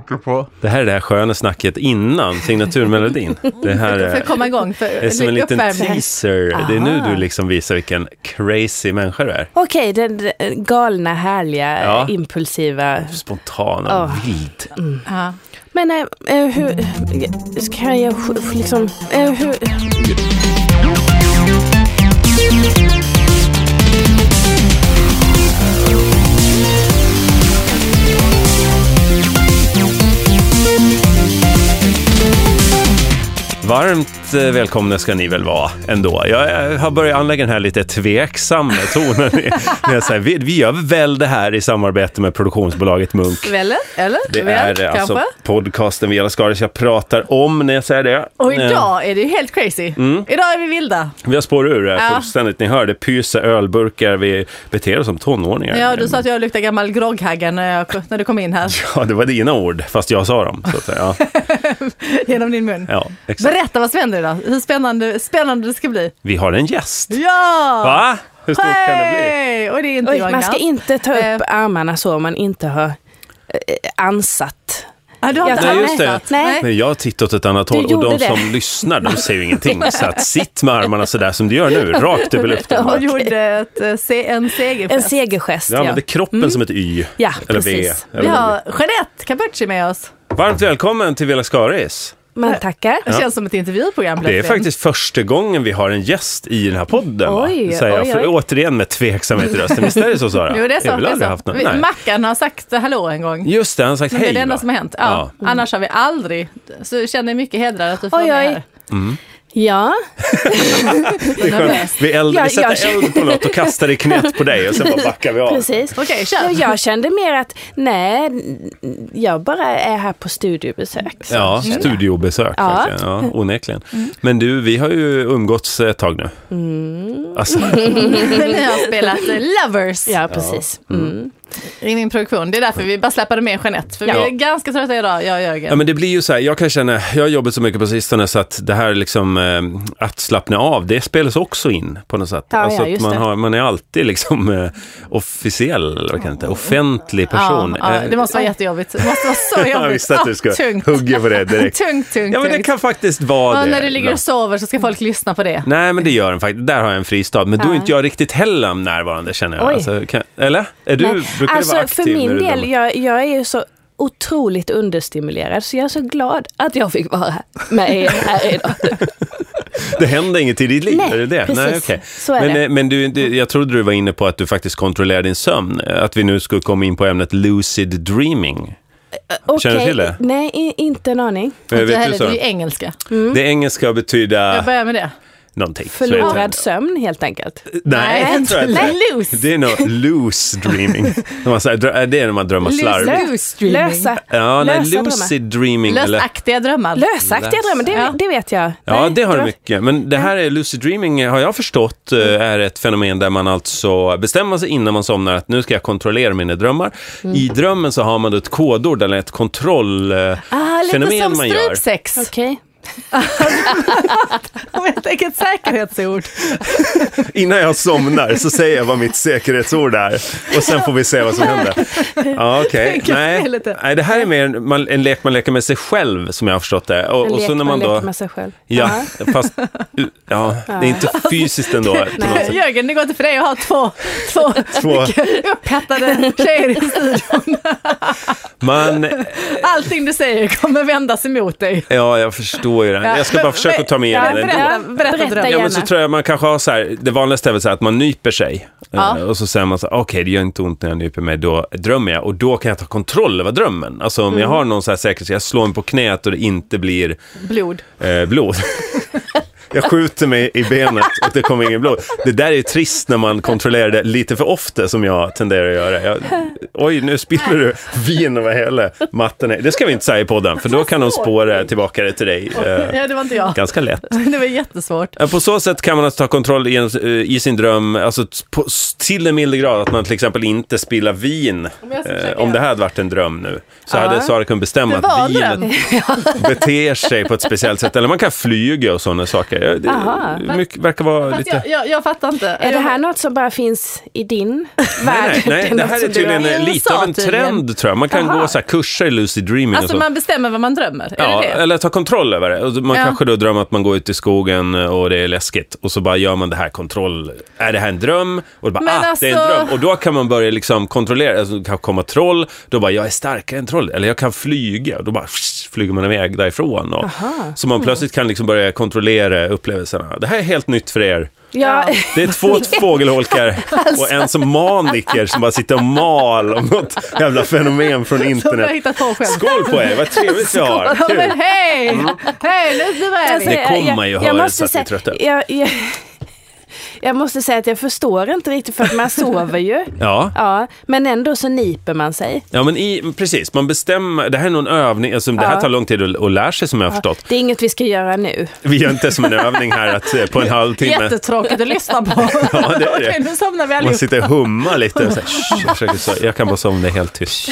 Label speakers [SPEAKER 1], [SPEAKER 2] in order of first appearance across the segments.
[SPEAKER 1] åker på.
[SPEAKER 2] Det här är det här sköna snacket innan signaturmelodin. Det här
[SPEAKER 3] För att
[SPEAKER 2] är,
[SPEAKER 3] komma igång, för
[SPEAKER 2] är som en liten
[SPEAKER 3] uppvärmning.
[SPEAKER 2] teaser. Det är nu
[SPEAKER 4] Aha.
[SPEAKER 2] du liksom visar vilken crazy människa du är.
[SPEAKER 4] Okej, den den galna, härliga,
[SPEAKER 2] Ja.
[SPEAKER 4] impulsiva.
[SPEAKER 2] Spontana,
[SPEAKER 4] Ja.
[SPEAKER 2] vild.
[SPEAKER 3] Ja.
[SPEAKER 4] Men eh, eh, hur, kan jag sj- sj- liksom, eh, hur,
[SPEAKER 2] Varmt eh, välkomna ska ni väl vara ändå. Jag eh, har börjat anlägga den här lite tveksamma tonen. när jag säger, vi, vi gör väl det här i samarbete med produktionsbolaget Munk.
[SPEAKER 3] Eller? Eller?
[SPEAKER 2] Det
[SPEAKER 3] Väl,
[SPEAKER 2] är eh, alltså
[SPEAKER 3] kanske?
[SPEAKER 2] podcasten Vela Skaris jag pratar om när jag säger det.
[SPEAKER 3] Och
[SPEAKER 2] Eh,
[SPEAKER 3] idag är det ju helt crazy.
[SPEAKER 2] Mm.
[SPEAKER 3] Idag är vi vilda.
[SPEAKER 2] Vi har spår ur det här
[SPEAKER 3] Ja.
[SPEAKER 2] fullständigt. Ni hör, det pyser ölburkar, vi beter oss som tonåringar.
[SPEAKER 3] Ja, du sa att jag luktar gammal grogghagga när, jag, när du kom in här
[SPEAKER 2] Ja, det var dina ord, fast jag sa dem. Så att säga. Ja,
[SPEAKER 3] genom din mun.
[SPEAKER 2] ja, exakt.
[SPEAKER 3] Berätta vad som händer idag. Hur spännande, spännande det ska bli.
[SPEAKER 2] Vi har en gäst.
[SPEAKER 3] Ja!
[SPEAKER 2] Va? Hur stort kan det bli?
[SPEAKER 3] Hej! Och det är inte
[SPEAKER 4] oj,
[SPEAKER 3] jag
[SPEAKER 4] man ska
[SPEAKER 3] Gans.
[SPEAKER 4] inte ta
[SPEAKER 3] Eh.
[SPEAKER 4] upp armarna så om man inte har eh, ansatt.
[SPEAKER 3] Ah, du har
[SPEAKER 4] Jag
[SPEAKER 3] inte
[SPEAKER 2] tar-
[SPEAKER 3] alls
[SPEAKER 2] just det.
[SPEAKER 3] pratat.
[SPEAKER 4] Nej.
[SPEAKER 2] Men jag tittar åt ett annat håll och
[SPEAKER 4] gjorde
[SPEAKER 2] de
[SPEAKER 4] det.
[SPEAKER 2] som lyssnar, de ser ju ingenting. Så att sitt med armarna sådär som du gör nu, rakt upp i luften.
[SPEAKER 3] Hon
[SPEAKER 2] bara.
[SPEAKER 3] gjorde ett, eh, se, en seger.
[SPEAKER 4] En segergest,
[SPEAKER 2] Jag använder kroppen
[SPEAKER 4] Mm.
[SPEAKER 2] som ett Y.
[SPEAKER 4] Ja,
[SPEAKER 2] eller
[SPEAKER 4] precis.
[SPEAKER 2] V.
[SPEAKER 3] Vi
[SPEAKER 2] Eller vad
[SPEAKER 3] har Jeanette Capucci med oss.
[SPEAKER 2] det blir. Varmt välkommen till Vela Skaris.
[SPEAKER 4] Man tackar.
[SPEAKER 3] Det känns som ett intervjuprogram.
[SPEAKER 2] Det är
[SPEAKER 3] plötsligt.
[SPEAKER 2] faktiskt första gången vi har en gäst i den här podden.
[SPEAKER 4] Oj,
[SPEAKER 2] va? Säger jag
[SPEAKER 4] oj,
[SPEAKER 2] för,
[SPEAKER 4] oj.
[SPEAKER 2] återigen med tveksamhet i rösten. Visst är det så Sara?
[SPEAKER 3] Jo, det är
[SPEAKER 2] Jag har väl
[SPEAKER 3] så. Det
[SPEAKER 2] aldrig
[SPEAKER 3] är
[SPEAKER 2] haft
[SPEAKER 3] så.
[SPEAKER 2] någon.
[SPEAKER 3] Vi,
[SPEAKER 2] Nej.
[SPEAKER 3] Mackan har sagt hallå en gång.
[SPEAKER 2] Just det, han har sagt
[SPEAKER 3] Men
[SPEAKER 2] hej.
[SPEAKER 3] det är det enda
[SPEAKER 2] va?
[SPEAKER 3] som har hänt. Ja. Annars har vi aldrig. Så jag känner mig mycket hedrad att du får
[SPEAKER 4] Oj,
[SPEAKER 3] med
[SPEAKER 4] oj.
[SPEAKER 3] här.
[SPEAKER 4] Ja,
[SPEAKER 2] Det är skönt. Vi, eld,
[SPEAKER 4] Ja,
[SPEAKER 2] vi sätter
[SPEAKER 4] jag känner-
[SPEAKER 2] eld på något och kastar i knät på dig och sen bara backar vi av.
[SPEAKER 4] precis.
[SPEAKER 3] Okej, kör.
[SPEAKER 4] Ja, Jag kände mer att nej, jag bara är här på studiebesök. så
[SPEAKER 2] Ja,
[SPEAKER 4] känner jag.
[SPEAKER 2] studiobesök
[SPEAKER 4] Ja.
[SPEAKER 2] verkligen. Ja, onekligen. Men du, vi har ju umgåtts ett tag nu.
[SPEAKER 3] Mm.
[SPEAKER 2] Alltså,
[SPEAKER 3] Ni har spelat eh, Lovers
[SPEAKER 4] Ja, precis. Mm.
[SPEAKER 3] i min produktion. Det är därför vi bara släpade med Jeanette. För vi
[SPEAKER 2] Ja.
[SPEAKER 3] är ganska trötta idag, jag och Jörgen.
[SPEAKER 2] ja, men det blir ju så här, jag kan känna, jag har jobbat så mycket på sistone så att det här liksom, eh, att slappna av, det spelas också in på något sätt.
[SPEAKER 4] Ja, ja,
[SPEAKER 2] alltså att
[SPEAKER 4] just
[SPEAKER 2] man,
[SPEAKER 4] det.
[SPEAKER 2] har, man är alltid liksom eh, officiell, vad kan det heta, offentlig person.
[SPEAKER 3] Ja, ja,
[SPEAKER 2] Eh,
[SPEAKER 3] det måste vara jättejobbigt. Det måste vara så jobbigt.
[SPEAKER 2] jag visste att
[SPEAKER 3] Ah,
[SPEAKER 2] du skulle
[SPEAKER 3] tungt.
[SPEAKER 2] hugga på det direkt.
[SPEAKER 3] Tungt, tungt,
[SPEAKER 2] Ja, men det
[SPEAKER 3] tungt.
[SPEAKER 2] kan faktiskt vara
[SPEAKER 3] Ja,
[SPEAKER 2] det.
[SPEAKER 3] när du ligger och sover så ska folk lyssna på det.
[SPEAKER 2] Nej, men det gör den faktiskt. Där har jag en fristad. Men då är inte jag riktigt heller närvarande, känner jag.
[SPEAKER 4] Oj.
[SPEAKER 2] Alltså, kan, eller? Är du,
[SPEAKER 4] Nej,
[SPEAKER 2] brukar du
[SPEAKER 4] alltså
[SPEAKER 2] vara aktiv
[SPEAKER 4] för
[SPEAKER 2] när
[SPEAKER 4] min
[SPEAKER 2] du
[SPEAKER 4] del, jag, jag är ju så otroligt understimulerad så jag är så glad att jag fick vara här med er här idag.
[SPEAKER 2] Det händer inget i ditt liv,
[SPEAKER 4] Nej,
[SPEAKER 2] är det det?
[SPEAKER 4] precis.
[SPEAKER 2] okej.
[SPEAKER 4] Så är
[SPEAKER 2] men
[SPEAKER 4] det.
[SPEAKER 2] eh, men du, du, jag trodde du var inne på att du faktiskt kontrollerar din sömn. Eh, Att vi nu skulle komma in på ämnet lucid dreaming. eh, Känner du till det?
[SPEAKER 4] Nej, i- inte en aning.
[SPEAKER 2] Eh,
[SPEAKER 3] Inte
[SPEAKER 2] Vet du, Ah.
[SPEAKER 3] heller, det är ju
[SPEAKER 2] Sara?
[SPEAKER 3] engelska.
[SPEAKER 2] det engelska betyder
[SPEAKER 3] Jag börjar med det.
[SPEAKER 2] någonting. så är det-
[SPEAKER 4] Förlorad sömn helt enkelt.
[SPEAKER 2] Nej,
[SPEAKER 3] Nej,
[SPEAKER 2] det tror jag inte.
[SPEAKER 3] nej, loose.
[SPEAKER 2] Det är nog loose dreaming. När man säger, dra- det är när man drömmer
[SPEAKER 3] Loose
[SPEAKER 2] slarvigt.
[SPEAKER 3] dreaming. Loose dreaming.
[SPEAKER 4] Lösa,
[SPEAKER 2] Ja, nej,
[SPEAKER 4] lösa drömmar.
[SPEAKER 2] lucid dreaming. eller-
[SPEAKER 3] Lösaktiga drömmar.
[SPEAKER 4] Lösaktiga drömmar, det,
[SPEAKER 3] Ja.
[SPEAKER 4] det vet jag.
[SPEAKER 2] Ja,
[SPEAKER 4] Nej,
[SPEAKER 2] det har det
[SPEAKER 4] det var-
[SPEAKER 2] mycket. Men det här är lucid dreaming, har jag förstått, eh,
[SPEAKER 4] Mm.
[SPEAKER 2] är ett fenomen där man alltså bestämmer sig innan man somnar att nu ska jag kontrollera mina drömmar.
[SPEAKER 4] Mm.
[SPEAKER 2] I drömmen så har man då ett kodord eller ett eh,
[SPEAKER 3] Ah, lite
[SPEAKER 2] kontrollfenomen
[SPEAKER 3] som
[SPEAKER 2] man gör.
[SPEAKER 3] strypsex.
[SPEAKER 4] Okej.
[SPEAKER 3] Om jag tänker ett säkerhetsord.
[SPEAKER 2] Innan jag somnar så säger jag vad mitt säkerhetsord är och sen får vi se vad som händer. Ja, okej.
[SPEAKER 3] Tänker fel
[SPEAKER 2] Nej.
[SPEAKER 3] lite.
[SPEAKER 2] Nej, det här är mer en, man, en lek man leker med sig själv som jag har förstått det. Och,
[SPEAKER 4] En
[SPEAKER 2] och
[SPEAKER 4] lek
[SPEAKER 2] så när man
[SPEAKER 4] leker
[SPEAKER 2] då...
[SPEAKER 4] med sig själv.
[SPEAKER 2] Ja,
[SPEAKER 4] Ja.
[SPEAKER 2] fast ja, det är inte fysiskt ändå. på något sätt.
[SPEAKER 3] Jörgen, det går inte för dig att ha två, två,
[SPEAKER 2] Två.
[SPEAKER 3] upphettade tjejer i studion.
[SPEAKER 2] Man
[SPEAKER 3] Allting du säger kommer vändas emot dig.
[SPEAKER 2] Ja, jag förstår ju det. Jag ska bara försöka ta mig igenom
[SPEAKER 3] Ja,
[SPEAKER 2] det.
[SPEAKER 3] berätta, berätta,
[SPEAKER 4] Berätta
[SPEAKER 3] berätta
[SPEAKER 2] Ja, men så
[SPEAKER 4] gärna.
[SPEAKER 2] tror jag man kanske har så här, det vanligaste är väl så här att man nyper sig.
[SPEAKER 3] Ja.
[SPEAKER 2] Eh, Och så säger man så här, okej det gör inte ont när jag nyper mig, då drömmer jag. Och då kan jag ta kontroll över drömmen. Alltså om jag har någon så här säkerhet, jag slår mig på knät och det inte blir
[SPEAKER 3] Blod.
[SPEAKER 2] eh, blod. Jag skjuter mig i benet och det kommer ingen blod. Det där är ju trist när man kontrollerar det lite för ofta som jag tenderar att göra. Jag, oj, nu spiller du vin över hela mattan. här. Det ska vi inte säga i podden, för då kan de spåra tillbaka det till dig. eh,
[SPEAKER 3] Ja, det var inte jag.
[SPEAKER 2] Ganska lätt.
[SPEAKER 3] Det var jättesvårt.
[SPEAKER 2] Ja, På så sätt kan man alltså ta kontroll genom, eh, i sin dröm, alltså t- på, till en milde grad att man till exempel inte spillar vin.
[SPEAKER 3] Om jag ska försöka
[SPEAKER 2] Eh, om det här hade varit en dröm nu, så hade Sara kunnat bestämma
[SPEAKER 3] Det var
[SPEAKER 2] att
[SPEAKER 3] en dröm.
[SPEAKER 2] vinet beter sig på ett speciellt sätt. Eller man kan flyga och sådana saker. grejer.
[SPEAKER 4] Aha.
[SPEAKER 2] Det, mycket, verkar vara
[SPEAKER 3] Fast
[SPEAKER 2] lite...
[SPEAKER 3] jag, jag, jag fattar inte.
[SPEAKER 4] Är det
[SPEAKER 3] Jag-
[SPEAKER 4] här något som bara finns i din värld?
[SPEAKER 2] Nej, nej,
[SPEAKER 4] är
[SPEAKER 2] det
[SPEAKER 4] något
[SPEAKER 2] här är
[SPEAKER 4] som du
[SPEAKER 2] tydligen
[SPEAKER 4] har-
[SPEAKER 3] har-
[SPEAKER 2] eh, lite av en
[SPEAKER 3] USA tydligen.
[SPEAKER 2] trend tror jag. Man kan
[SPEAKER 4] Aha.
[SPEAKER 2] gå så här, kurser i lucid dreaming och
[SPEAKER 3] Alltså
[SPEAKER 2] så.
[SPEAKER 3] man bestämmer vad man drömmer, är
[SPEAKER 2] Ja, eh,
[SPEAKER 3] det det?
[SPEAKER 2] eller ta kontroll över det. Och Man
[SPEAKER 3] Ja.
[SPEAKER 2] kanske då drömmer att man går ut i skogen och det är läskigt. Och så bara gör man det här kontroll. Är det här en dröm? Och då bara,
[SPEAKER 3] Men
[SPEAKER 2] ah, det är en
[SPEAKER 3] alltså-
[SPEAKER 2] dröm. Och då kan man börja liksom kontrollera. Alltså, det kan komma troll. Då bara, jag är starkare än troll. Eller jag kan flyga. Och då bara psh, flyger man iväg därifrån. Och, så
[SPEAKER 3] Mm.
[SPEAKER 2] man plötsligt kan liksom börja kontrollera upplevelserna. Det här är helt nytt för er.
[SPEAKER 4] Ja,
[SPEAKER 2] Det är två fågelholkar och en som maniker som bara sitter och mal om något jävla fenomen från
[SPEAKER 3] Som jag
[SPEAKER 2] internet.
[SPEAKER 3] har hittat på själv.
[SPEAKER 2] Skål på er, vad trevligt vi har.
[SPEAKER 3] Ja,
[SPEAKER 2] Kul.
[SPEAKER 3] men hej!
[SPEAKER 2] Mm.
[SPEAKER 3] Hej, nu, nu är
[SPEAKER 4] Alltså,
[SPEAKER 3] vi!
[SPEAKER 2] Det kommer man ju höra så
[SPEAKER 4] måste
[SPEAKER 2] att ni är
[SPEAKER 4] säga,
[SPEAKER 2] trötta.
[SPEAKER 4] jag, jag, jag måste säga att jag förstår inte riktigt för att man sover ju.
[SPEAKER 2] Ja,
[SPEAKER 4] Ja, men ändå så niper man sig.
[SPEAKER 2] ja men i, precis, man bestämmer, det här är någon övning, alltså, det här
[SPEAKER 4] Ja.
[SPEAKER 2] tar lång tid att, att lära sig som jag har förstått.
[SPEAKER 4] Det är inget vi ska göra nu.
[SPEAKER 2] Vi gör inte som en övning här att eh, på en halvtimme,
[SPEAKER 3] Jättetråkigt att lyssna på.
[SPEAKER 2] Ja, det är det.
[SPEAKER 3] Okej, nu somnar vi
[SPEAKER 2] man
[SPEAKER 3] allihop.
[SPEAKER 2] sitter och hummar lite. Och så här, "Shh", jag, försöker, så, jag kan bara somna helt tyst.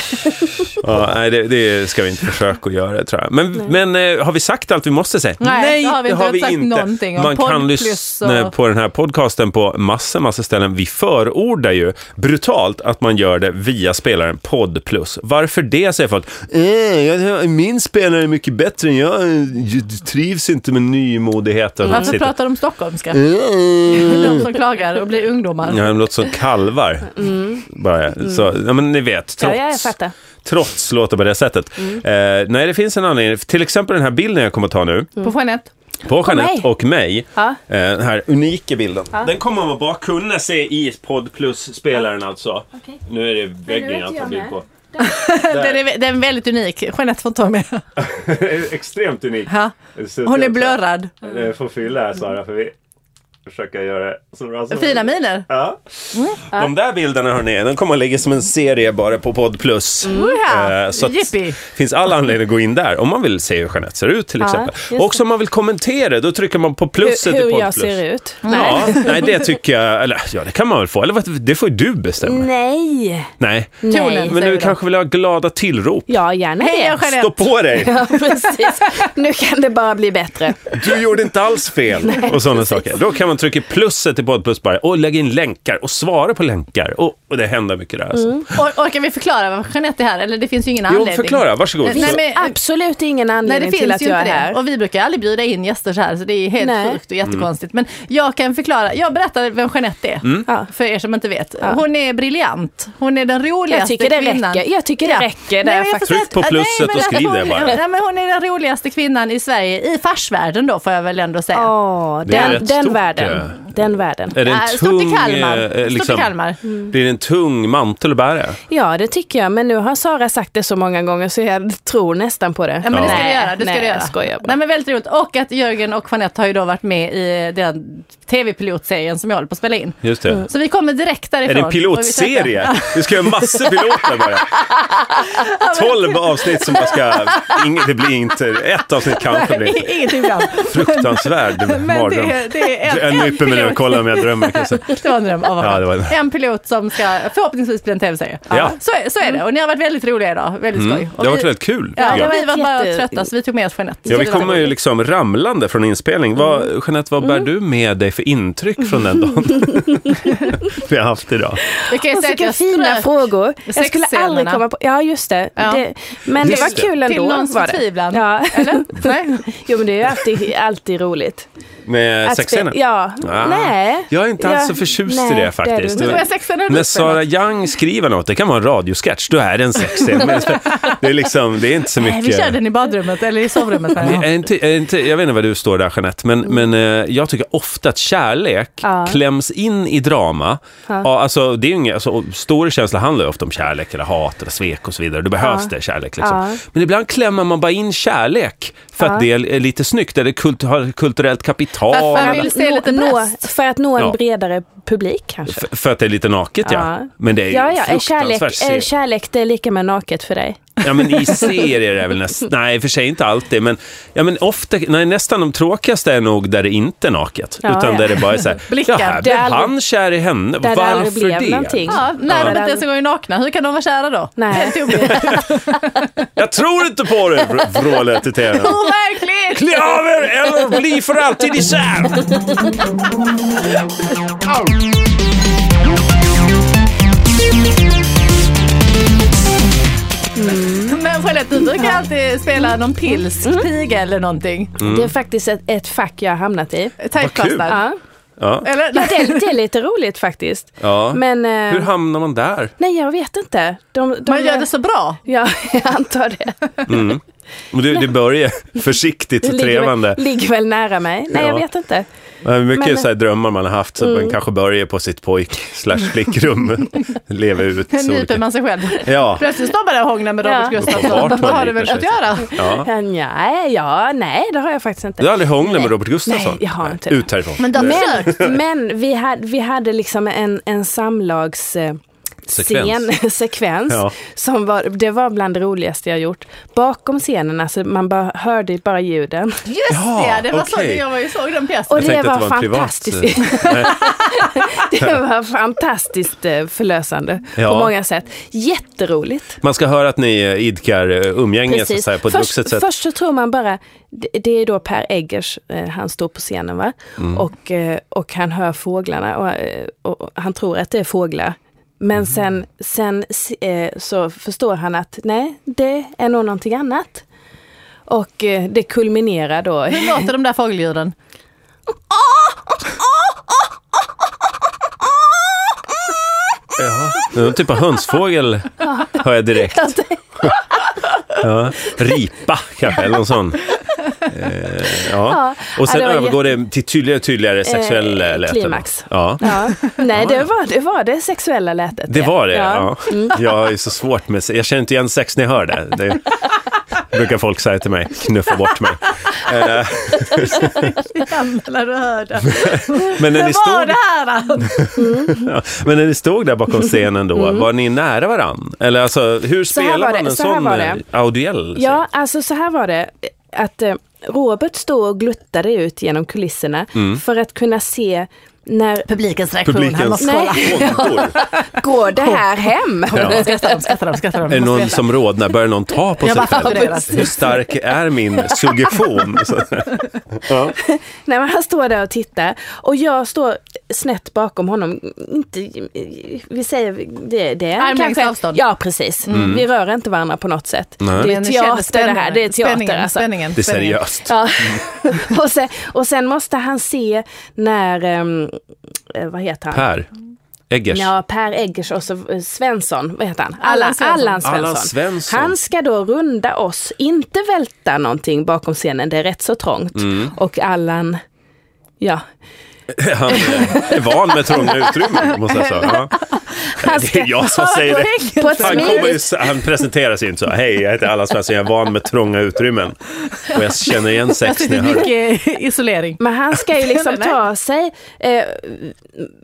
[SPEAKER 2] Ja, nej, det, det ska vi inte försöka att göra tror jag. Men, men eh, har vi sagt allt vi måste säga?
[SPEAKER 3] Nej, det har vi inte. Vi har inte sagt någonting om
[SPEAKER 2] Man kan
[SPEAKER 3] poddplus
[SPEAKER 2] lyssna
[SPEAKER 3] och-
[SPEAKER 2] på den här podcasten på massor, massor ställen. Vi förordar ju brutalt att man gör det via spelaren Podd Plus. Varför det, säger folk. Eh, jag- min spelare är mycket bättre än jag. Jag trivs inte med nymodigheten.
[SPEAKER 3] Varför
[SPEAKER 2] Sitter- Eh.
[SPEAKER 3] pratar de stockholmska? De som klagar och blir ungdomar.
[SPEAKER 2] Ja, de låter som kalvar. Bara. Så, ja, men ni vet,
[SPEAKER 4] Ja,
[SPEAKER 2] trots,
[SPEAKER 4] jag fattar.
[SPEAKER 2] trots låter på det sättet. Eh, nej, det finns en anledning. Till exempel den här bilden jag kommer att ta nu,
[SPEAKER 3] På Jeanette.
[SPEAKER 2] på Jeanette
[SPEAKER 4] mig.
[SPEAKER 2] och mig.
[SPEAKER 4] Ja.
[SPEAKER 2] Eh, den här unika bilden. Den kommer man bara kunna se i Podd Plus-spelaren alltså.
[SPEAKER 4] Okej.
[SPEAKER 2] Nu är det
[SPEAKER 4] nu
[SPEAKER 2] väggen
[SPEAKER 4] vet
[SPEAKER 2] jag
[SPEAKER 4] jag
[SPEAKER 2] tar bild
[SPEAKER 4] med.
[SPEAKER 2] på.
[SPEAKER 3] Den är, den är väldigt unik. Jeanette får inte vara med.
[SPEAKER 2] Extremt unik.
[SPEAKER 3] Ja.
[SPEAKER 2] Så
[SPEAKER 3] Hon är
[SPEAKER 2] jag-
[SPEAKER 3] blurrad.
[SPEAKER 2] Eh, Får fylla här Sara, för vi försöker göra det så bra som
[SPEAKER 3] Fina miner.
[SPEAKER 2] Ja. De där bilderna hörni, de kommer att ligga som en serie bara på Podd Plus.
[SPEAKER 3] Woho!
[SPEAKER 2] Eh, Så att
[SPEAKER 3] Jippi.
[SPEAKER 2] finns all anledning att gå in där om man vill se hur Jeanette ser ut till
[SPEAKER 4] Ja,
[SPEAKER 2] exempel.
[SPEAKER 4] just det.
[SPEAKER 2] Också om man vill kommentera, då trycker man på
[SPEAKER 4] Hur,
[SPEAKER 2] plusset i
[SPEAKER 4] hur
[SPEAKER 2] Podd
[SPEAKER 4] jag
[SPEAKER 2] Plus.
[SPEAKER 4] ser ut.
[SPEAKER 2] Ja, nej, det tycker jag, eller ja, det kan man väl få, eller vad- det får ju du bestämma.
[SPEAKER 4] Nej.
[SPEAKER 2] Nej.
[SPEAKER 4] Mm. Nej.
[SPEAKER 2] Men
[SPEAKER 3] säger
[SPEAKER 2] du
[SPEAKER 3] vi då.
[SPEAKER 2] kanske vill ha glada tillrop.
[SPEAKER 4] Ja, gärna
[SPEAKER 3] Hej, jag är
[SPEAKER 4] det.
[SPEAKER 3] Jeanette.
[SPEAKER 2] Stå på dig!
[SPEAKER 4] Ja, precis. Nu kan det bara bli bättre.
[SPEAKER 2] Du gjorde inte alls fel! och sådana saker. Då kan man trycka plusset i Podd Plus bara och lägga in länkar och svara på länkar. Och, och det händer mycket där. Alltså.
[SPEAKER 3] Or- orkar vi förklara vad Jeanette är här? Eller det finns ju ingen
[SPEAKER 2] Jo,
[SPEAKER 3] Mm. anledning.
[SPEAKER 2] förklara, varsågod.
[SPEAKER 3] Nej, nej, men-
[SPEAKER 4] Absolut ingen
[SPEAKER 3] Nej, det
[SPEAKER 4] anledning till
[SPEAKER 3] finns
[SPEAKER 4] att
[SPEAKER 3] ju inte
[SPEAKER 4] jag är
[SPEAKER 3] det.
[SPEAKER 4] här.
[SPEAKER 3] Och vi brukar aldrig bjuda in gäster så här, så det är helt
[SPEAKER 4] Nej.
[SPEAKER 3] sjukt och
[SPEAKER 2] Mm.
[SPEAKER 3] jättekonstigt. Men jag kan förklara. Jag berättar vem Jeanette är,
[SPEAKER 2] Mm.
[SPEAKER 4] Ja.
[SPEAKER 3] för er som inte vet. Hon är briljant. Hon är den roligaste
[SPEAKER 4] Jag tycker det
[SPEAKER 3] kvinnan.
[SPEAKER 4] räcker. Jag tycker det räcker där
[SPEAKER 3] men jag får
[SPEAKER 4] faktiskt.
[SPEAKER 3] säga
[SPEAKER 2] Tryck
[SPEAKER 3] att-
[SPEAKER 2] på
[SPEAKER 3] nej,
[SPEAKER 2] plusset
[SPEAKER 3] men
[SPEAKER 2] och skriv det
[SPEAKER 3] hon,
[SPEAKER 2] bara.
[SPEAKER 3] Nej, men hon är den roligaste kvinnan i Sverige, i farsvärlden då får jag väl ändå säga.
[SPEAKER 4] Åh,
[SPEAKER 2] Det är
[SPEAKER 4] den,
[SPEAKER 2] rätt
[SPEAKER 4] den
[SPEAKER 2] stort, eh,
[SPEAKER 4] världen. Den världen.
[SPEAKER 2] Är det en
[SPEAKER 3] Äh, stort i
[SPEAKER 2] tung...
[SPEAKER 3] Kalmar.
[SPEAKER 2] eh, eh,
[SPEAKER 3] Stort i
[SPEAKER 2] liksom,
[SPEAKER 3] Kalmar.
[SPEAKER 2] Blir det en tung mantel att bära?
[SPEAKER 4] Ja, det tycker jag. Men nu har Sara sagt det så många gånger så jag tror nästan på det.
[SPEAKER 3] Ja, men det ska
[SPEAKER 4] Nej,
[SPEAKER 3] du göra. Det ska
[SPEAKER 4] nej,
[SPEAKER 3] du göra.
[SPEAKER 4] jag skojar bara.
[SPEAKER 3] Nej, men väldigt roligt. Och att Jörgen och Jeanette har ju då varit med i den tv-pilotserien som jag håller på att spela in.
[SPEAKER 2] Just det.
[SPEAKER 3] Så vi kommer direkt därifrån.
[SPEAKER 2] Är det en pilotserie? Du ska göra massor piloter bara. Tolv avsnitt som bara ska... Inget, det blir inte... Ett avsnitt kanske
[SPEAKER 3] Och vi
[SPEAKER 2] blir
[SPEAKER 3] träffar- Ingenting bra.
[SPEAKER 2] fruktansvärd
[SPEAKER 3] Men
[SPEAKER 2] mardröm.
[SPEAKER 3] det, det är
[SPEAKER 2] Jag
[SPEAKER 3] en, en
[SPEAKER 2] nyper mig nu och
[SPEAKER 3] pilot.
[SPEAKER 2] kollar om jag drömmer. kanske.
[SPEAKER 3] Det var en dröm. av
[SPEAKER 2] Ja, det var en-
[SPEAKER 3] en... pilot som ska förhoppningsvis bli en tv-serie.
[SPEAKER 2] Ja. Mm.
[SPEAKER 3] Så, är- så är
[SPEAKER 4] Mm.
[SPEAKER 3] det. Och ni har varit väldigt roliga idag. Väldigt skoj.
[SPEAKER 2] Det har
[SPEAKER 3] Och vi-
[SPEAKER 2] varit väldigt kul.
[SPEAKER 3] Mm. Ja,
[SPEAKER 2] tycker jag.
[SPEAKER 4] det
[SPEAKER 3] vi var bara
[SPEAKER 4] Jätte-
[SPEAKER 3] trötta så vi tog med oss Jeanette.
[SPEAKER 2] Ja, vi kommer ju liksom ramlande från inspelning.
[SPEAKER 3] Mm.
[SPEAKER 2] Vad, Jeanette, vad bär du med dig för intryck från den dagen vi har haft idag?
[SPEAKER 3] Jag kan ju
[SPEAKER 4] Och
[SPEAKER 3] säga att
[SPEAKER 4] vilka
[SPEAKER 3] jag
[SPEAKER 4] fina
[SPEAKER 3] strök
[SPEAKER 4] frågor. Jag skulle
[SPEAKER 3] sexscenerna.
[SPEAKER 4] aldrig komma på... Ja, just det.
[SPEAKER 3] Ja.
[SPEAKER 4] det men
[SPEAKER 2] Just
[SPEAKER 4] det var
[SPEAKER 2] det.
[SPEAKER 4] kul ändå.
[SPEAKER 3] till någons
[SPEAKER 4] var det.
[SPEAKER 3] förtvivlan.
[SPEAKER 4] Ja.
[SPEAKER 3] Eller? Nej.
[SPEAKER 4] Jo, men det är ju alltid, alltid roligt.
[SPEAKER 2] Med
[SPEAKER 4] Att
[SPEAKER 2] sexscenen?
[SPEAKER 4] spe- Ja.
[SPEAKER 2] Ah,
[SPEAKER 4] Nej.
[SPEAKER 2] Jag är inte alls
[SPEAKER 4] Ja,
[SPEAKER 2] så förtjust
[SPEAKER 4] nej,
[SPEAKER 2] i
[SPEAKER 4] det är
[SPEAKER 2] det
[SPEAKER 4] du
[SPEAKER 2] faktiskt.
[SPEAKER 4] inte.
[SPEAKER 3] Nu får jag sexscenen upp
[SPEAKER 2] när
[SPEAKER 3] eller
[SPEAKER 2] Sara Young skriver något, det kan vara en radiosketch, då är det en sexscen. Men det är liksom, det är inte så
[SPEAKER 3] Nej, vi
[SPEAKER 2] mycket...
[SPEAKER 3] kör den i badrummet eller i sovrummet. menar jag.
[SPEAKER 2] Är inte, är inte, jag vet inte var du står där Jeanette, men, men eh, jag tycker ofta att kärlek
[SPEAKER 4] Mm. Ja.
[SPEAKER 2] kläms in i drama. Ja. alltså, det är ju inga, alltså, stora känslor handlar ju ofta om kärlek eller hat eller svek och så vidare. Det behövs det, kärlek. Liksom.
[SPEAKER 4] Ja.
[SPEAKER 2] Men ibland klämmer man bara in kärlek för att det är lite snyggt eller kult, har kulturellt kapital.
[SPEAKER 3] Varför
[SPEAKER 2] eller-
[SPEAKER 3] Jag vill se
[SPEAKER 4] Nå-
[SPEAKER 3] lite
[SPEAKER 4] nå,
[SPEAKER 3] bröst.
[SPEAKER 4] För att nå en
[SPEAKER 2] Ja.
[SPEAKER 4] bredare publik kanske.
[SPEAKER 2] F- För att det är lite naket ja.
[SPEAKER 4] Ja.
[SPEAKER 2] Men det är ju
[SPEAKER 4] Ja, ja. Är kärlek,
[SPEAKER 2] fruktansvärt
[SPEAKER 4] är
[SPEAKER 2] seriöst.
[SPEAKER 4] kärlek det är lika med naket för dig?
[SPEAKER 2] Ja men i serier är väl nästan, nej i och för sig inte alltid men, ja men ofta, nej nästan de tråkigaste är nog där det inte är naket.
[SPEAKER 4] Ja,
[SPEAKER 2] utan
[SPEAKER 4] ja.
[SPEAKER 2] där det bara är så här,
[SPEAKER 3] Blickar.
[SPEAKER 2] ja här
[SPEAKER 4] Det
[SPEAKER 2] blev
[SPEAKER 4] är aldrig-
[SPEAKER 2] han kär i henne,
[SPEAKER 4] Där det aldrig
[SPEAKER 2] varför
[SPEAKER 4] blev
[SPEAKER 2] det?
[SPEAKER 4] någonting.
[SPEAKER 3] Ja, när
[SPEAKER 4] Ja.
[SPEAKER 3] de inte ens en gång är nakna, hur kan de vara kära då?
[SPEAKER 4] Nej.
[SPEAKER 3] Helt obegripligt.
[SPEAKER 2] Jag tror inte på det, vr- vrålet i tvn.
[SPEAKER 3] Overkligt!
[SPEAKER 2] Klä av er eller bli för alltid isär!
[SPEAKER 3] Men Jeanette, du brukar alltid spela någon pils,
[SPEAKER 4] Mm.
[SPEAKER 3] piga eller någonting.
[SPEAKER 2] Mm.
[SPEAKER 4] Det är faktiskt ett, ett fack jag har hamnat i.
[SPEAKER 3] Typecastad.
[SPEAKER 4] Ja.
[SPEAKER 2] Ja.
[SPEAKER 3] Eller?
[SPEAKER 4] Det, det är lite roligt faktiskt.
[SPEAKER 2] ja.
[SPEAKER 4] Men, eh,
[SPEAKER 2] Hur hamnar man där?
[SPEAKER 4] nej jag vet inte. De, de,
[SPEAKER 3] Man gör det så bra.
[SPEAKER 4] Ja, jag antar det.
[SPEAKER 2] Men Det, det börjar försiktigt trevande.
[SPEAKER 4] väl, ligger väl nära mig. Nej, jag
[SPEAKER 2] Ja.
[SPEAKER 4] vet inte.
[SPEAKER 2] Men Mycket
[SPEAKER 4] Men- Mm.
[SPEAKER 2] så här drömmar man har haft, så att man kanske börjar på sitt pojk slash flickrum, leva ut. så
[SPEAKER 3] Nyper
[SPEAKER 2] olika-
[SPEAKER 3] man sig själv.
[SPEAKER 2] Ja,
[SPEAKER 3] Plötsligt står man där och hånglar med Robert
[SPEAKER 4] Ja.
[SPEAKER 2] Uppenbart
[SPEAKER 3] Gustafsson. Vad
[SPEAKER 2] man
[SPEAKER 3] har du väl
[SPEAKER 2] nyper
[SPEAKER 3] att
[SPEAKER 2] sig.
[SPEAKER 3] göra?
[SPEAKER 2] ja.
[SPEAKER 4] Ja, nej, ja, nej, det har jag faktiskt inte.
[SPEAKER 2] Du har aldrig hånglat med Robert Gustafsson?
[SPEAKER 4] Nej, jag har inte det.
[SPEAKER 2] Ut härifrån.
[SPEAKER 3] Men de
[SPEAKER 2] Nej.
[SPEAKER 3] försökt.
[SPEAKER 4] Men vi hade, vi hade liksom en, en samlags... Eh,
[SPEAKER 2] Sekvens.
[SPEAKER 4] Scen, sekvens
[SPEAKER 2] Ja.
[SPEAKER 4] som var, det var bland det roligaste jag gjort. Bakom scenen, alltså man bara, hörde bara ljuden.
[SPEAKER 3] Just
[SPEAKER 2] Ja,
[SPEAKER 3] det, det var så
[SPEAKER 2] okej.
[SPEAKER 3] jag var ju såg den pjäsen.
[SPEAKER 4] Och det
[SPEAKER 2] tänkte att
[SPEAKER 4] var,
[SPEAKER 2] det var en privat,
[SPEAKER 4] fantastiskt. det var fantastiskt eh, förlösande
[SPEAKER 2] Ja.
[SPEAKER 4] på många sätt. Jätteroligt.
[SPEAKER 2] Man ska höra att ni eh, idkar eh, umgänge så att säga, på ett
[SPEAKER 4] först,
[SPEAKER 2] vuxet sätt.
[SPEAKER 4] först så tror man bara, det, det är då Per Eggers, eh, han står på scenen va?
[SPEAKER 2] Mm.
[SPEAKER 4] Och, eh, och han hör fåglarna och, eh, och och han tror att det är fåglar. Men
[SPEAKER 2] Mm.
[SPEAKER 4] sen, sen eh, så förstår han att nej, det är nog någonting annat. Och eh, det kulminerar då.
[SPEAKER 3] Hur låter de där fågelljuden?
[SPEAKER 2] Jaha. Det är någon typ av hönsfågel, hör jag direkt. Ja. Ripa, kanske, eller någon sån. Eh, ja.
[SPEAKER 4] Ja,
[SPEAKER 2] Och sen
[SPEAKER 4] ja, det var
[SPEAKER 2] övergår det till tydligare och tydligare sexuell
[SPEAKER 4] Eh,
[SPEAKER 2] eh, läten.
[SPEAKER 4] klimax.
[SPEAKER 2] Ja.
[SPEAKER 4] Ja. Nej, det var det, var det sexuella lätet. Mm.
[SPEAKER 2] Det var det, ja. Jag är så svårt med Jag känner inte igen sex när jag hör det. Det brukar folk säga till mig, knuffa bort mig. Eh,
[SPEAKER 3] Eller du hörde.
[SPEAKER 2] Men när ni
[SPEAKER 3] Vad var
[SPEAKER 2] stod
[SPEAKER 3] det här då?
[SPEAKER 2] Ja, Men när ni stod där bakom scenen då, var ni nära varann? Eller alltså, hur
[SPEAKER 4] här
[SPEAKER 2] spelar
[SPEAKER 4] var
[SPEAKER 2] man
[SPEAKER 4] det,
[SPEAKER 2] en
[SPEAKER 4] Mm. så här
[SPEAKER 2] sån
[SPEAKER 4] var det.
[SPEAKER 2] eh, audiell?
[SPEAKER 4] Ja, alltså så här var det. Att eh, Robert stod och gluttade ut genom kulisserna
[SPEAKER 2] Mm.
[SPEAKER 4] för att kunna se när
[SPEAKER 3] Publikens reaktion. Han
[SPEAKER 2] Publikens
[SPEAKER 3] måste
[SPEAKER 4] Nej.
[SPEAKER 3] kolla.
[SPEAKER 2] vågor.
[SPEAKER 4] går det här hem?
[SPEAKER 2] Ja.
[SPEAKER 3] Skrattar de, skrattar de, skrattar de.
[SPEAKER 2] Är det någon
[SPEAKER 3] Måste veta.
[SPEAKER 2] som rodnar? Börjar någon ta på sig
[SPEAKER 3] Jag bara
[SPEAKER 2] själv?
[SPEAKER 3] förbereder.
[SPEAKER 2] Hur stark är min suggestion? Så-
[SPEAKER 4] Nej, men han står där och tittar och jag står snett bakom honom. Inte, vi säger det, det är
[SPEAKER 3] Armlängds avstånd.
[SPEAKER 4] Ja, precis. Vi rör inte varandra på något sätt.
[SPEAKER 2] Mm. Nej.
[SPEAKER 4] Det är
[SPEAKER 3] Men ni känner
[SPEAKER 4] teater det här.
[SPEAKER 3] spänningen.
[SPEAKER 4] Det är teater
[SPEAKER 3] Spänningen,
[SPEAKER 4] alltså.
[SPEAKER 3] spänningen,
[SPEAKER 2] Det är
[SPEAKER 3] spänningen.
[SPEAKER 2] seriöst.
[SPEAKER 4] Ja.
[SPEAKER 2] Mm.
[SPEAKER 4] och, sen, och sen måste han se när, ehm, eh, vad heter han?
[SPEAKER 2] Per Eggers.
[SPEAKER 4] Ja, Per Eggers och så eh, Svensson, vad heter han?
[SPEAKER 3] Allan
[SPEAKER 4] Allan,
[SPEAKER 3] Svensson.
[SPEAKER 4] Allan Svensson.
[SPEAKER 2] Allan Svensson.
[SPEAKER 4] Han ska då runda oss, inte välta någonting bakom scenen, det är rätt så trångt.
[SPEAKER 2] Mm.
[SPEAKER 4] Och Allan, ja,
[SPEAKER 2] Han eh, är van med trånga utrymmen, måste jag säga. Ja.
[SPEAKER 4] han
[SPEAKER 2] Det
[SPEAKER 4] ska
[SPEAKER 2] är jag som säger det.
[SPEAKER 4] på ett
[SPEAKER 2] Han, kommer ju,
[SPEAKER 4] smidigt
[SPEAKER 2] han presenterar sig ju inte så. Hej, jag heter Allan Svensson, jag är van med trånga utrymmen. Och jag känner igen
[SPEAKER 3] Jag
[SPEAKER 4] Alltså,
[SPEAKER 2] sex när
[SPEAKER 3] sitter
[SPEAKER 2] jag hör det.
[SPEAKER 3] mycket i isolering.
[SPEAKER 4] men han ska ju liksom
[SPEAKER 3] Nej.
[SPEAKER 4] ta sig eh,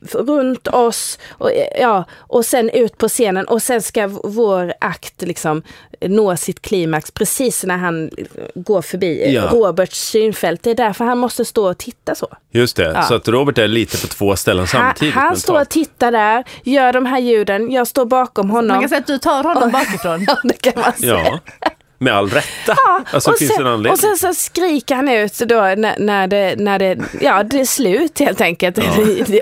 [SPEAKER 4] f- runt oss och, eh, ja, och sen ut på scenen och sen ska v- vår akt liksom nå sitt klimax precis när han eh, går förbi eh,
[SPEAKER 2] Ja.
[SPEAKER 4] Roberts synfält. Det är därför han måste stå och titta så.
[SPEAKER 2] Just det, så att Robert är lite på två ställen samtidigt.
[SPEAKER 4] Han, han
[SPEAKER 2] mentalt.
[SPEAKER 4] står och tittar där, gör de här ljuden, jag står bakom
[SPEAKER 3] Man
[SPEAKER 4] honom.
[SPEAKER 3] kan säga att du tar honom bakifrån.
[SPEAKER 4] Ja, det kan man säga.
[SPEAKER 2] Ja, med all rätta. Alltså,
[SPEAKER 4] och,
[SPEAKER 2] finns det en
[SPEAKER 4] sen,
[SPEAKER 2] anledning?
[SPEAKER 4] och sen så skriker han ut då när, när, det, när det, ja det är slut helt enkelt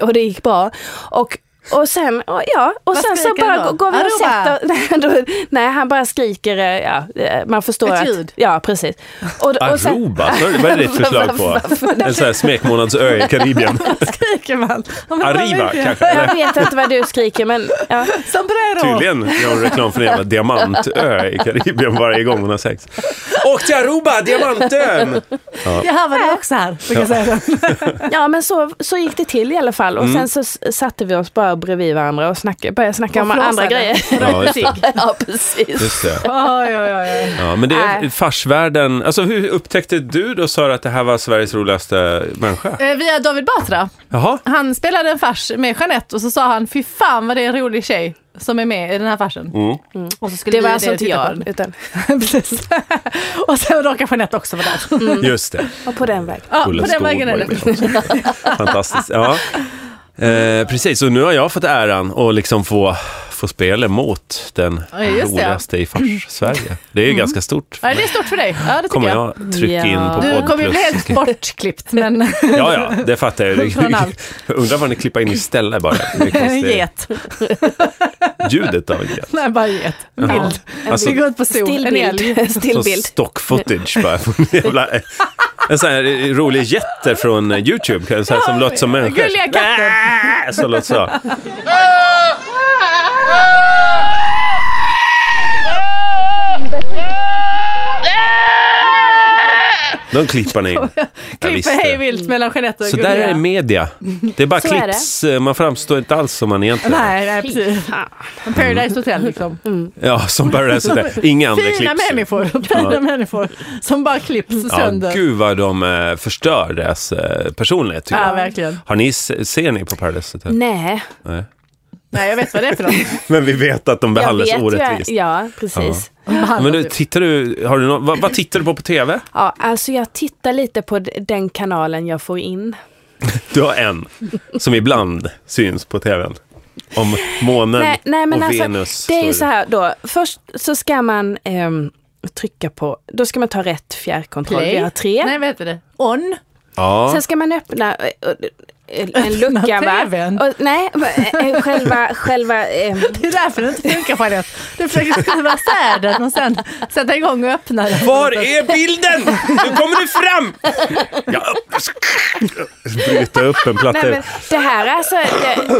[SPEAKER 4] och det gick bra. Och, och sen, och ja, och
[SPEAKER 3] Vad
[SPEAKER 4] sen så
[SPEAKER 3] skriker
[SPEAKER 4] bara
[SPEAKER 3] han då?
[SPEAKER 4] går- går vi och
[SPEAKER 3] Aruba?
[SPEAKER 4] sätter, nej, då, nej han bara skriker, eh, ja eh, man förstår
[SPEAKER 3] Ett
[SPEAKER 4] att,
[SPEAKER 3] ljud.
[SPEAKER 4] ja precis. Och, och sen-
[SPEAKER 2] Aruba, så- vad är ditt förslag på? En sån här smekmånadsö i Karibien.
[SPEAKER 3] Skriker man. Ja, men
[SPEAKER 2] Arriba
[SPEAKER 3] vad är det?
[SPEAKER 2] kanske? Eller,
[SPEAKER 4] jag vet inte vad du skriker men ja.
[SPEAKER 3] Sombrero.
[SPEAKER 2] tydligen gör hon reklam för en jävla diamantö i Karibien varje gång hon har sex. Åk till Aruba, diamantön!
[SPEAKER 3] Jag hörde det också här. brukar jag säga.
[SPEAKER 4] Ja men så, så gick det till i alla fall och
[SPEAKER 2] Mm.
[SPEAKER 4] sen så s- satte vi oss bara bredvid varandra och snackade, började snacka om
[SPEAKER 3] Och
[SPEAKER 4] andra
[SPEAKER 3] flåsade.
[SPEAKER 4] grejer. Typ.
[SPEAKER 2] Ja, just det.
[SPEAKER 4] ja precis.
[SPEAKER 2] Just det.
[SPEAKER 3] Oj, oj, oj.
[SPEAKER 2] Ja, men det är
[SPEAKER 4] Nej.
[SPEAKER 2] farsvärlden. Alltså, hur upptäckte du då, Sara, att det här var Sveriges roligaste människa?
[SPEAKER 3] Eh, Via David Batra.
[SPEAKER 2] Jaha?
[SPEAKER 3] Han spelade en fars med Jeanette och så sa han, fy fan vad det är en rolig tjej som är med i den här farsen.
[SPEAKER 2] Mm.
[SPEAKER 3] Och så skulle
[SPEAKER 4] Det var
[SPEAKER 3] vi
[SPEAKER 4] alltså inte
[SPEAKER 3] titta på den.
[SPEAKER 4] jag. Utan,
[SPEAKER 3] Precis. och sen råkar Jeanette också vara där.
[SPEAKER 2] Just det.
[SPEAKER 4] och på den vägen.
[SPEAKER 3] Ja,
[SPEAKER 2] Ulla
[SPEAKER 3] på den
[SPEAKER 2] Skog
[SPEAKER 3] vägen är
[SPEAKER 2] var
[SPEAKER 3] det.
[SPEAKER 2] ju med också. Fantastiskt. Ja. Eh, precis, och nu har jag fått äran att liksom få, få spela mot den
[SPEAKER 3] Ja, just det. Mm.
[SPEAKER 2] roligaste i fars Sverige. Det är ju ganska stort.
[SPEAKER 3] Ja, det är stort för dig. Ja, det tycker
[SPEAKER 2] kommer
[SPEAKER 3] jag.
[SPEAKER 2] jag trycka in
[SPEAKER 4] Ja.
[SPEAKER 2] på
[SPEAKER 3] Du
[SPEAKER 2] podd
[SPEAKER 3] kommer ju
[SPEAKER 2] plus.
[SPEAKER 3] bli helt bortklippt, men
[SPEAKER 2] Ja, ja, det fattar jag.
[SPEAKER 3] Från allt.
[SPEAKER 2] Undrar vad ni klippar in istället bara. Det är konstigt.
[SPEAKER 3] get.
[SPEAKER 2] Ljudet av en get.
[SPEAKER 3] Nej, bara get.
[SPEAKER 2] Jaha.
[SPEAKER 3] Bild.
[SPEAKER 2] Alltså,
[SPEAKER 3] Vi går ut på sol. En älg.
[SPEAKER 4] Stillbild.
[SPEAKER 2] Sån
[SPEAKER 4] Stillbild.
[SPEAKER 2] stock footage bara. på en jävla- En sån här rolig jätte från Youtube kan jag säga, som låter som människor.
[SPEAKER 3] Gulliga katter.
[SPEAKER 2] Äh, Så låter så. De klippar ni in. Jag
[SPEAKER 3] Klipper
[SPEAKER 2] visste.
[SPEAKER 3] hej vilt mellan Jeanette och
[SPEAKER 2] Så där
[SPEAKER 3] Gulliga.
[SPEAKER 2] är media. Det är bara
[SPEAKER 4] Så är det.
[SPEAKER 2] klipps. Man framstår inte alls som man egentligen är.
[SPEAKER 3] Nej, nej, precis.
[SPEAKER 4] Ah,
[SPEAKER 3] Paradise Hotel liksom.
[SPEAKER 2] Ja, som Paradise Hotel. Inga andra klipps.
[SPEAKER 3] Fina
[SPEAKER 2] ju.
[SPEAKER 3] människor. Fina människor. Som bara klipps
[SPEAKER 2] Ja,
[SPEAKER 3] sönder.
[SPEAKER 2] gud vad de eh, förstör deras eh, personlighet. tycker
[SPEAKER 3] Ja,
[SPEAKER 2] jag.
[SPEAKER 3] verkligen.
[SPEAKER 2] Har ni, se- ser ni på Paradise Hotel?
[SPEAKER 4] Nej,
[SPEAKER 2] Nej.
[SPEAKER 3] Nej, jag vet vad det är för något.
[SPEAKER 2] Men vi vet att de
[SPEAKER 4] jag
[SPEAKER 2] behandlas
[SPEAKER 4] vet
[SPEAKER 2] orättvist.
[SPEAKER 4] ju. Ja, precis.
[SPEAKER 2] Men du,
[SPEAKER 3] typ,
[SPEAKER 2] tittar du, har du nå- vad, vad tittar du på på TV?
[SPEAKER 4] Ja, alltså jag tittar lite på d- den kanalen jag får in.
[SPEAKER 2] Du har en som ibland syns på TVn. Om månen
[SPEAKER 4] nej, nej, men
[SPEAKER 2] och
[SPEAKER 4] alltså,
[SPEAKER 2] Venus.
[SPEAKER 4] Det är ju
[SPEAKER 2] står
[SPEAKER 4] så här då, först så ska man ehm, trycka på, då ska man ta rätt fjärrkontroll, vi har tre.
[SPEAKER 3] Nej, vad heter det? On.
[SPEAKER 2] Ja,
[SPEAKER 4] Sen ska man öppna eh, eh, en
[SPEAKER 3] Öppna
[SPEAKER 4] lucka va?
[SPEAKER 3] TVn.
[SPEAKER 4] Och, nej, eh, eh, själva, själva ehm,
[SPEAKER 3] Det är därför det inte funkar Jeanette. Du försöker skriva isär den och sen sätta igång och öppna den.
[SPEAKER 2] var är bilden? Nu kommer du fram! Ja, bryta upp en platta.
[SPEAKER 4] Nej, men det här är alltså... Det,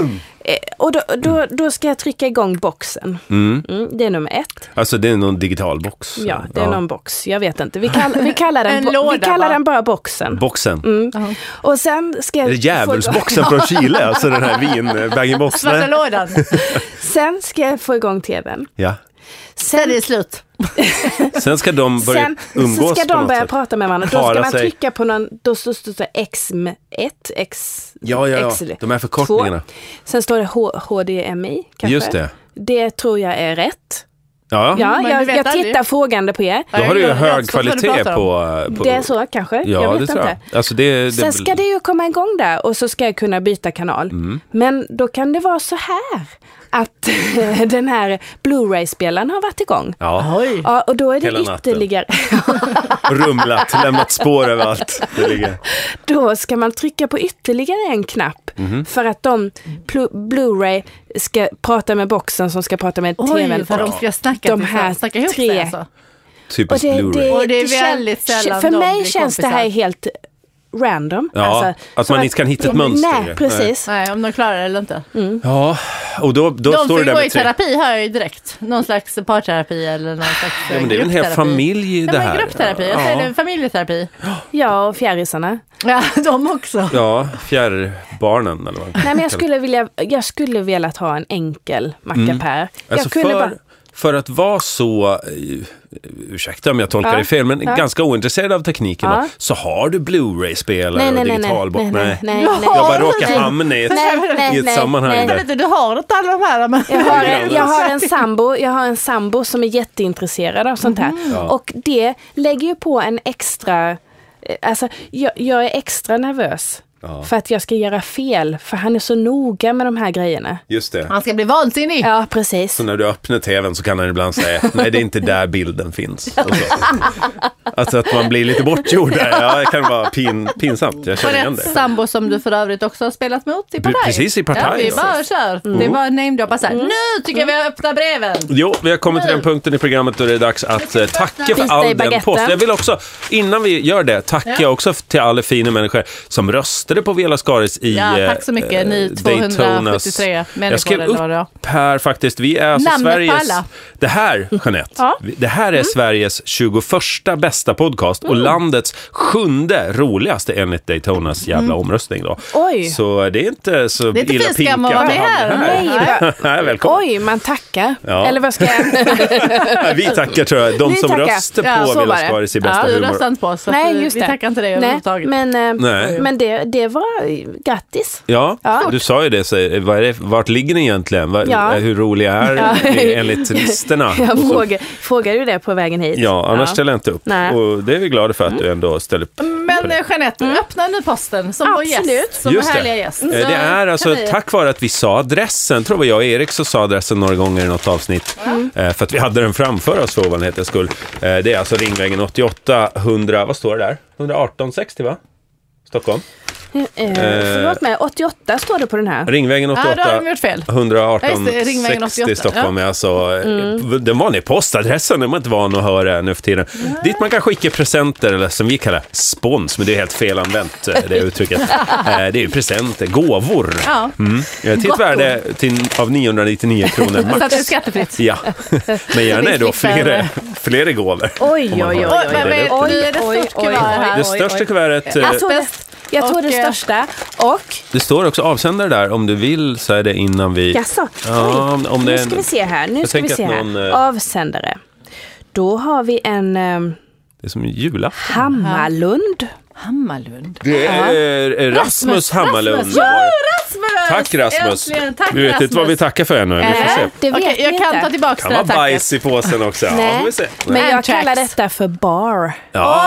[SPEAKER 4] eh, och då, då, då ska jag trycka igång boxen. Mm, det är nummer ett.
[SPEAKER 2] Alltså det är någon digital box.
[SPEAKER 4] Ja, det är någon box. Jag vet inte. Vi, kall, vi kallar, den,
[SPEAKER 3] En
[SPEAKER 4] bo,
[SPEAKER 3] låda,
[SPEAKER 4] vi kallar
[SPEAKER 3] va?
[SPEAKER 4] den bara boxen.
[SPEAKER 2] Boxen.
[SPEAKER 4] Och sen ska
[SPEAKER 2] Är det
[SPEAKER 4] jag... Få igång,
[SPEAKER 2] djävulsboxen från Chile? Alltså den här vin, bag box
[SPEAKER 3] Svarta lådan.
[SPEAKER 4] sen ska jag få igång tvn.
[SPEAKER 2] Ja.
[SPEAKER 3] Sen är det slut.
[SPEAKER 2] Sen ska de börja
[SPEAKER 4] Sen
[SPEAKER 2] umgås
[SPEAKER 4] så ska
[SPEAKER 2] på
[SPEAKER 4] de
[SPEAKER 2] något
[SPEAKER 4] börja
[SPEAKER 2] sätt.
[SPEAKER 4] prata med varandra. Då
[SPEAKER 2] Para
[SPEAKER 4] ska man
[SPEAKER 2] sig.
[SPEAKER 4] trycka på någon, då står står det XM1, X...
[SPEAKER 2] Ja, ja,
[SPEAKER 4] X-
[SPEAKER 2] ja. De här förkortningarna.
[SPEAKER 4] två. Sen står det H- HDMI kanske.
[SPEAKER 2] Just det.
[SPEAKER 4] Det tror jag är rätt.
[SPEAKER 2] Ja.
[SPEAKER 4] Ja,
[SPEAKER 3] Mm, men
[SPEAKER 4] jag,
[SPEAKER 3] du vet
[SPEAKER 4] jag
[SPEAKER 3] aldrig.
[SPEAKER 4] tittar frågande på er.
[SPEAKER 2] Då har du ju
[SPEAKER 3] Jag- jag
[SPEAKER 2] hög
[SPEAKER 3] förstår vad du
[SPEAKER 2] kvalitet
[SPEAKER 3] pratar om.
[SPEAKER 2] på... på
[SPEAKER 4] Det är så kanske? jag
[SPEAKER 2] Ja,
[SPEAKER 4] vet
[SPEAKER 2] det tror jag.
[SPEAKER 4] inte.
[SPEAKER 2] Alltså det, det,
[SPEAKER 4] Sen ska det ju komma igång där och så ska jag kunna byta kanal.
[SPEAKER 2] Mm.
[SPEAKER 4] Men då kan det vara så här att den här Blu-ray-spelaren har varit igång.
[SPEAKER 2] Ja,
[SPEAKER 3] Oj.
[SPEAKER 4] Ja, och då är det
[SPEAKER 2] Hela natten.
[SPEAKER 4] ytterligare,
[SPEAKER 2] rumlat, lämnat spår överallt. Det ligger.
[SPEAKER 4] då ska man trycka på ytterligare en knapp
[SPEAKER 2] Mm-hmm.
[SPEAKER 4] för att de plu- Blu-ray ska prata med boxen som ska prata med
[SPEAKER 3] Oj,
[SPEAKER 4] tvn.
[SPEAKER 3] vad de ska snacka,
[SPEAKER 4] De
[SPEAKER 3] till-
[SPEAKER 4] här
[SPEAKER 3] snacka ihop sig
[SPEAKER 4] tre.
[SPEAKER 3] alltså.
[SPEAKER 4] Och
[SPEAKER 2] Typiskt
[SPEAKER 4] det,
[SPEAKER 2] Blu-ray.
[SPEAKER 3] Och det är
[SPEAKER 4] kän-
[SPEAKER 3] väldigt sällan
[SPEAKER 4] För
[SPEAKER 3] de
[SPEAKER 4] mig
[SPEAKER 3] blir
[SPEAKER 4] känns det här
[SPEAKER 3] kompisar.
[SPEAKER 4] helt random. Alltså,
[SPEAKER 2] Ja, att
[SPEAKER 4] som
[SPEAKER 2] man inte kan hitta ett mönster ju. Nej.
[SPEAKER 4] Nej, precis.
[SPEAKER 3] Nej, om de klarar det eller inte.
[SPEAKER 2] Ja, och då, då
[SPEAKER 3] De
[SPEAKER 2] står
[SPEAKER 3] får
[SPEAKER 2] det
[SPEAKER 3] ju
[SPEAKER 2] där
[SPEAKER 3] gå
[SPEAKER 2] med
[SPEAKER 3] i
[SPEAKER 2] tre.
[SPEAKER 3] terapi hör jag ju direkt. Någon slags parterapi eller någon slags
[SPEAKER 2] Ja, men det är väl en hel familj
[SPEAKER 3] Ja,
[SPEAKER 2] det här.
[SPEAKER 3] men gruppterapi. Jag säger det, familjeterapi.
[SPEAKER 4] Ja, och fjärisarna.
[SPEAKER 3] Ja, de också.
[SPEAKER 2] Ja, fjärrbarnen eller vad man
[SPEAKER 4] Nej, men
[SPEAKER 2] kallar
[SPEAKER 4] jag
[SPEAKER 2] det.
[SPEAKER 4] skulle, vilja, jag skulle velat ha en enkel mackapär. Jag
[SPEAKER 2] Alltså
[SPEAKER 4] kunde
[SPEAKER 2] för,
[SPEAKER 4] bara...
[SPEAKER 2] för att vara så, eh, ursäkta om jag tolkar
[SPEAKER 4] Ja,
[SPEAKER 2] det fel, men
[SPEAKER 4] ja.
[SPEAKER 2] ganska ointresserad av tekniken
[SPEAKER 4] Ja.
[SPEAKER 2] då, så har du Blu-ray-spelare
[SPEAKER 4] Nej,
[SPEAKER 2] och
[SPEAKER 4] nej, nej, nej,
[SPEAKER 2] digital box.
[SPEAKER 4] nej, nej, nej,
[SPEAKER 3] Jag
[SPEAKER 4] nej.
[SPEAKER 2] Jag
[SPEAKER 3] Ja,
[SPEAKER 2] bara råkar
[SPEAKER 3] nej.
[SPEAKER 2] hamna i ett...
[SPEAKER 4] Nej, nej,
[SPEAKER 2] i ett
[SPEAKER 4] nej,
[SPEAKER 2] sammanhang
[SPEAKER 4] nej.
[SPEAKER 3] Jag vet inte, du har inte alla de här. Men...
[SPEAKER 4] Jag har, en, jag, har en sambo, jag har en sambo som är jätteintresserad av sånt här.
[SPEAKER 2] Mm.
[SPEAKER 4] Och det lägger ju på en extra... eh, Alltså, jag, jag är extra nervös. För att jag ska göra fel, för han är så noga med de här grejerna.
[SPEAKER 2] Just det.
[SPEAKER 3] Han ska bli vansinnig.
[SPEAKER 4] Ja, precis.
[SPEAKER 2] Så när du öppnar tvn så kan han ibland säga, nej det är inte där bilden finns. Och så. Alltså att man blir lite bortgjord där, ja, det kan vara pin, pinsamt, jag känner igen
[SPEAKER 3] Jeanettes
[SPEAKER 2] det.
[SPEAKER 3] sambo som du för övrigt också har spelat mot i Partaj.
[SPEAKER 2] precis, Mm. i Partaj,
[SPEAKER 3] Ja, vi
[SPEAKER 2] ja.
[SPEAKER 3] bara kör. Det är bara namedroppa så här. Nu tycker jag vi öppnar breven.
[SPEAKER 2] Jo, vi har kommit till den punkten i programmet då det är dags att eh, tacka för
[SPEAKER 4] Bita i
[SPEAKER 2] all den
[SPEAKER 4] baguetten.
[SPEAKER 2] post. Jag vill också, innan vi gör det, tacka
[SPEAKER 3] Ja.
[SPEAKER 2] också till alla fina människor som röstade på Vela Skaris i
[SPEAKER 3] Ja,
[SPEAKER 2] eh,
[SPEAKER 3] tack så mycket, ni
[SPEAKER 2] eh,
[SPEAKER 3] 273 människor
[SPEAKER 2] Jag skrev
[SPEAKER 3] eller vad det
[SPEAKER 2] upp här faktiskt, vi är alltså
[SPEAKER 3] Namnet på
[SPEAKER 2] Sveriges...
[SPEAKER 3] alla. Mm.
[SPEAKER 2] Det här, Jeanette,
[SPEAKER 4] Ja.
[SPEAKER 2] vi- det här är Sveriges 21 bästa podcast och landets sjunde roligaste enligt Daytonas jävla omröstning då.
[SPEAKER 4] Oj.
[SPEAKER 2] Så det är inte så
[SPEAKER 3] Mm. Det är inte
[SPEAKER 2] illa
[SPEAKER 3] fy skam att
[SPEAKER 2] pinkat
[SPEAKER 3] vara med
[SPEAKER 2] hamna
[SPEAKER 4] Nej,
[SPEAKER 3] här.
[SPEAKER 4] vad-
[SPEAKER 2] Nej, välkommen.
[SPEAKER 4] Oj, man tackar.
[SPEAKER 2] Ja.
[SPEAKER 4] Eller vad ska jag...
[SPEAKER 2] Nej, vi tackar tror jag, de
[SPEAKER 4] Ni
[SPEAKER 2] som
[SPEAKER 4] tackar.
[SPEAKER 2] röstade
[SPEAKER 4] Ja,
[SPEAKER 2] på
[SPEAKER 4] så
[SPEAKER 2] Villa
[SPEAKER 4] var det.
[SPEAKER 2] Skaris i
[SPEAKER 4] Ja,
[SPEAKER 2] bästa
[SPEAKER 3] Du
[SPEAKER 2] humor.
[SPEAKER 3] röstar inte på oss. så att
[SPEAKER 4] Nej,
[SPEAKER 3] vi-
[SPEAKER 4] just
[SPEAKER 3] vi
[SPEAKER 4] det.
[SPEAKER 3] tackar inte dig
[SPEAKER 4] Nej,
[SPEAKER 3] överhuvudtaget.
[SPEAKER 4] men, eh,
[SPEAKER 2] Nej.
[SPEAKER 4] men det, det det var grattis.
[SPEAKER 2] Ja,
[SPEAKER 4] Ja.
[SPEAKER 2] du sa ju det. Så, eh, vad är det vart ligger ni egentligen? Vad,
[SPEAKER 4] Ja.
[SPEAKER 2] Hur roliga är
[SPEAKER 4] Ja.
[SPEAKER 2] ni enligt listorna? Och
[SPEAKER 4] Jag
[SPEAKER 2] så-
[SPEAKER 4] frågar, frågade ju det på vägen hit.
[SPEAKER 2] Ja, annars ställer jag inte upp.
[SPEAKER 4] Nej. Mm.
[SPEAKER 2] Och det är vi glada för att du ändå ställer upp.
[SPEAKER 3] Men eh, Jeanette, öppna nu posten som vår
[SPEAKER 4] Absolut.
[SPEAKER 3] gäst. Som vår härliga gäst.
[SPEAKER 2] Eh,
[SPEAKER 3] Så
[SPEAKER 2] Det är alltså
[SPEAKER 3] kan vi-
[SPEAKER 2] tack vare att vi sa adressen, tror jag jag och Erik så sa adressen några gånger i något avsnitt.
[SPEAKER 4] Mm.
[SPEAKER 2] Eh, För att vi hade den framför oss för ovanlighetens skull. Eh, Det är alltså Ringvägen 88 100, vad står det där? 118 60 va? Stockholm.
[SPEAKER 4] Eh, förlåt mig, 88 står det på den här.
[SPEAKER 2] Ringvägen
[SPEAKER 3] Ja,
[SPEAKER 2] 88.
[SPEAKER 3] då har de gjort fel.
[SPEAKER 2] 118
[SPEAKER 3] Ja, just det, Ringvägen
[SPEAKER 2] 60 i
[SPEAKER 3] 88,
[SPEAKER 2] Stockholm är alltså eh, den vanliga postadressen, den är man inte van att höra nu för tiden. Dit man kan skicka presenter, eller som vi kallar spons, men det är helt felanvänt eh, det uttrycket. Eh, det är ju presenter, gåvor.
[SPEAKER 3] Ja.
[SPEAKER 2] Mm. Eh, Till ett värde till, av 999 kronor
[SPEAKER 3] Så att det är
[SPEAKER 2] max.
[SPEAKER 3] skattefritt.
[SPEAKER 2] Ja, men gärna då
[SPEAKER 3] Vi slipper-
[SPEAKER 2] flera, flera gåvor.
[SPEAKER 4] Oj,
[SPEAKER 2] Om man har-
[SPEAKER 4] oj, oj,
[SPEAKER 3] Oj, men
[SPEAKER 2] det är
[SPEAKER 3] vet
[SPEAKER 2] det.
[SPEAKER 3] ni, det är ett
[SPEAKER 4] Oj,
[SPEAKER 3] stort
[SPEAKER 4] oj,
[SPEAKER 3] kuvert här.
[SPEAKER 4] oj,
[SPEAKER 2] Det
[SPEAKER 4] oj.
[SPEAKER 2] största kuvertet, eh,
[SPEAKER 4] Jag tror, det,
[SPEAKER 3] Asbest
[SPEAKER 4] jag tror
[SPEAKER 3] och,
[SPEAKER 4] det
[SPEAKER 3] eh,
[SPEAKER 4] största. Och,
[SPEAKER 2] det står också avsändare där om du vill säga det innan vi...
[SPEAKER 4] jaså,
[SPEAKER 2] Ja,
[SPEAKER 4] oj,
[SPEAKER 2] om- om det
[SPEAKER 4] nu
[SPEAKER 2] är en-
[SPEAKER 4] ska vi se här. Nu
[SPEAKER 2] Jag
[SPEAKER 4] ska vi
[SPEAKER 2] tänker
[SPEAKER 4] se
[SPEAKER 2] att
[SPEAKER 4] här.
[SPEAKER 2] någon, eh,
[SPEAKER 4] Avsändare. Då har vi en eh,
[SPEAKER 2] Det är som julafton.
[SPEAKER 4] Hammarlund.
[SPEAKER 3] Hammarlund.
[SPEAKER 2] Det är eh, Rasmus Hammarlund.
[SPEAKER 3] Rasmus. Ja, Rasmus!
[SPEAKER 2] Tack Rasmus!
[SPEAKER 3] Äntligen, tack
[SPEAKER 2] vi vet
[SPEAKER 3] Rasmus.
[SPEAKER 2] inte vad vi tackar för ännu. Vi får
[SPEAKER 3] Eh,
[SPEAKER 2] se.
[SPEAKER 4] Nej, det vet
[SPEAKER 3] Okej, jag
[SPEAKER 4] vi
[SPEAKER 3] kan
[SPEAKER 4] inte.
[SPEAKER 3] ta tillbaka
[SPEAKER 2] Kan
[SPEAKER 3] det
[SPEAKER 2] vara
[SPEAKER 3] här tacket.
[SPEAKER 2] bajs i påsen också. Ja, får vi se.
[SPEAKER 4] men jag
[SPEAKER 3] Antrax.
[SPEAKER 4] kallar detta för bar.
[SPEAKER 2] Ja.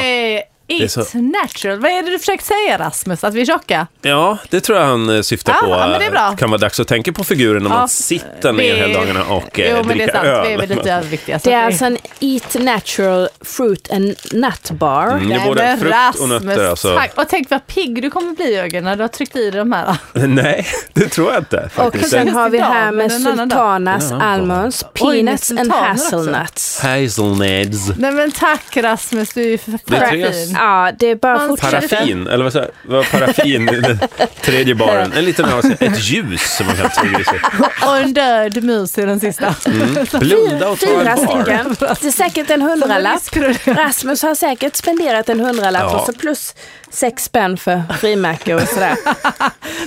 [SPEAKER 3] Oj!
[SPEAKER 2] är
[SPEAKER 3] It's
[SPEAKER 2] så-
[SPEAKER 3] natural. Vad är det du försökt säga Rasmus? Att vi är tjocka?
[SPEAKER 2] ja, det tror jag han eh, syftar
[SPEAKER 3] Ja,
[SPEAKER 2] på.
[SPEAKER 3] ja, men det är bra.
[SPEAKER 2] kan vara dags att tänka på figuren när
[SPEAKER 3] Ja,
[SPEAKER 2] man sitter ner
[SPEAKER 3] Vi-
[SPEAKER 2] hela dagarna och
[SPEAKER 3] jo,
[SPEAKER 2] eh,
[SPEAKER 3] men det är
[SPEAKER 2] dricker
[SPEAKER 3] sant. Vi är väl
[SPEAKER 2] öl.
[SPEAKER 3] lite överviktiga. så
[SPEAKER 4] Det är
[SPEAKER 3] att
[SPEAKER 4] alltså en Eat Natural Fruit and Nut Bar.
[SPEAKER 2] Mm, det är
[SPEAKER 3] Nej,
[SPEAKER 2] både
[SPEAKER 3] men
[SPEAKER 2] frukt och nötter
[SPEAKER 3] Rasmus,
[SPEAKER 2] alltså.
[SPEAKER 3] tack. Och tänk vad pigg du kommer bli Jörgen när du har tryckt i dig de här.
[SPEAKER 2] Nej, det tror jag inte
[SPEAKER 4] Och
[SPEAKER 2] faktiskt.
[SPEAKER 4] sen
[SPEAKER 3] Just
[SPEAKER 4] har vi
[SPEAKER 3] idag,
[SPEAKER 4] här med
[SPEAKER 3] men en annan dag.
[SPEAKER 4] Sultanas,
[SPEAKER 2] En annan dag.
[SPEAKER 4] Almonds,
[SPEAKER 3] Oj, med
[SPEAKER 4] Peanuts and
[SPEAKER 3] sultaner också.
[SPEAKER 4] Hazelnuts.
[SPEAKER 2] Hazelnuts.
[SPEAKER 3] Nej men tack Rasmus, du är ju för
[SPEAKER 2] är
[SPEAKER 3] för
[SPEAKER 2] tre-
[SPEAKER 3] fin.
[SPEAKER 4] Ja, det är bara att
[SPEAKER 3] Hans
[SPEAKER 4] fortsätta.
[SPEAKER 2] Paraffin, eller vad sa jag? Vad Paraffin, den tredje baren. En liten öl, ett ljus som man kan trycka i sig.
[SPEAKER 3] Och en död mus i den sista.
[SPEAKER 2] Mm. Blunda och ta en
[SPEAKER 4] Fyra
[SPEAKER 2] bar.
[SPEAKER 4] stycken. Det är säkert en hundralapp. Rasmus har säkert spenderat en hundralapp
[SPEAKER 2] Ja.
[SPEAKER 4] och så plus sex spänn för frimärke och sådär.
[SPEAKER 3] Men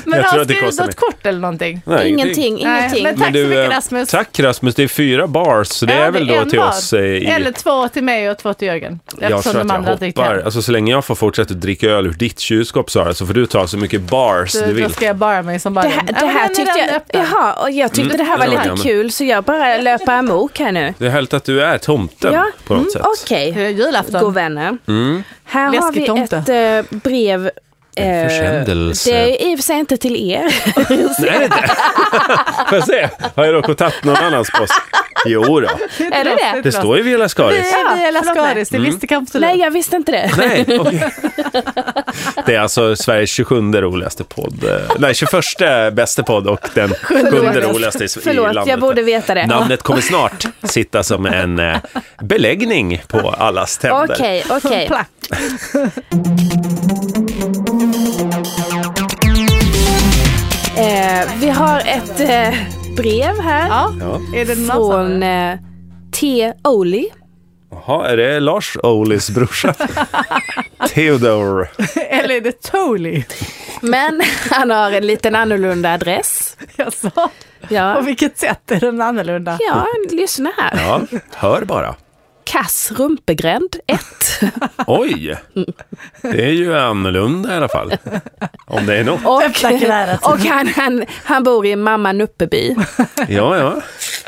[SPEAKER 2] Jag tror
[SPEAKER 3] har han
[SPEAKER 2] att det
[SPEAKER 3] skrivit
[SPEAKER 2] kostar
[SPEAKER 3] något kort eller någonting?
[SPEAKER 2] Nej,
[SPEAKER 4] Ingenting,
[SPEAKER 3] Nej,
[SPEAKER 4] ingenting.
[SPEAKER 3] men- Tack så mycket,
[SPEAKER 2] eh,
[SPEAKER 3] Rasmus.
[SPEAKER 2] Tack Rasmus, det är fyra bars, så det
[SPEAKER 3] Ja,
[SPEAKER 2] är väl då
[SPEAKER 3] en
[SPEAKER 2] till
[SPEAKER 3] var.
[SPEAKER 2] oss. eh, I,
[SPEAKER 3] Eller två till mig och två till Jörgen.
[SPEAKER 2] jag tror
[SPEAKER 3] de
[SPEAKER 2] att jag
[SPEAKER 3] andra dricker.
[SPEAKER 2] hoppar, alltså så länge jag får fortsätta dricka öl ur ditt kylskåp Sara, så får du ta så mycket bars
[SPEAKER 3] Så
[SPEAKER 2] du
[SPEAKER 3] Då
[SPEAKER 2] vill.
[SPEAKER 3] ska jag bara mig som bara
[SPEAKER 4] Det här, det här tyckte jag, jaha, och jag tyckte det här var
[SPEAKER 2] Den har jag
[SPEAKER 4] lite
[SPEAKER 2] med.
[SPEAKER 4] kul så jag bara löper amok här nu.
[SPEAKER 2] Det är härligt att du är tomten
[SPEAKER 4] Ja,
[SPEAKER 2] på
[SPEAKER 3] mm,
[SPEAKER 2] något sätt. Mm.
[SPEAKER 4] Okej,
[SPEAKER 3] Det är julafton.
[SPEAKER 4] god vänner. Här har
[SPEAKER 3] Läskig
[SPEAKER 4] vi
[SPEAKER 3] tomte.
[SPEAKER 4] ett eh, brev.
[SPEAKER 2] En
[SPEAKER 4] eh,
[SPEAKER 2] försändelse.
[SPEAKER 4] Det är i och för sig inte till er.
[SPEAKER 2] Nej, det är det Får jag se? Har jag råkat tagit någon annans post? Jo då.
[SPEAKER 4] är det det?
[SPEAKER 2] Det står ju Viola
[SPEAKER 3] Vi
[SPEAKER 2] Skaris.
[SPEAKER 3] är
[SPEAKER 4] Ja,
[SPEAKER 3] Via
[SPEAKER 4] förlåt mig.
[SPEAKER 3] Lascaris, det
[SPEAKER 2] Mm.
[SPEAKER 3] visste kanske
[SPEAKER 4] Nej,
[SPEAKER 3] du.
[SPEAKER 4] jag visste inte det.
[SPEAKER 2] Nej, okej. Det är alltså Sveriges 27 roligaste podd. eh, Nej, 21 bästa podd och den 7 roligaste i, i
[SPEAKER 4] Förlåt,
[SPEAKER 2] landet.
[SPEAKER 4] jag borde veta det.
[SPEAKER 2] Namnet kommer snart sitta som en eh, beläggning på allas tänder.
[SPEAKER 4] Okej, okej.
[SPEAKER 3] Plack.
[SPEAKER 4] Eh, vi har ett eh, brev här
[SPEAKER 3] Ja.
[SPEAKER 2] Ja.
[SPEAKER 3] Är det
[SPEAKER 4] från
[SPEAKER 3] någon
[SPEAKER 4] eh, T. Oli.
[SPEAKER 2] Jaha, är det Lars Ohlys brorsa? Theodore.
[SPEAKER 3] Eller är det Toli?
[SPEAKER 4] Men han har en liten annorlunda adress.
[SPEAKER 3] Jaså? På
[SPEAKER 4] Ja,
[SPEAKER 3] vilket sätt är den annorlunda?
[SPEAKER 4] ja lyssna här.
[SPEAKER 2] Ja, hör bara.
[SPEAKER 4] Kass Rumpegränd 1.
[SPEAKER 2] Oj! Det är ju annorlunda i alla fall. Om det är något.
[SPEAKER 4] Och,
[SPEAKER 3] Öppna kuvertet.
[SPEAKER 4] och han, han, han bor i Mamma Nuppeby.
[SPEAKER 2] Ja, ja.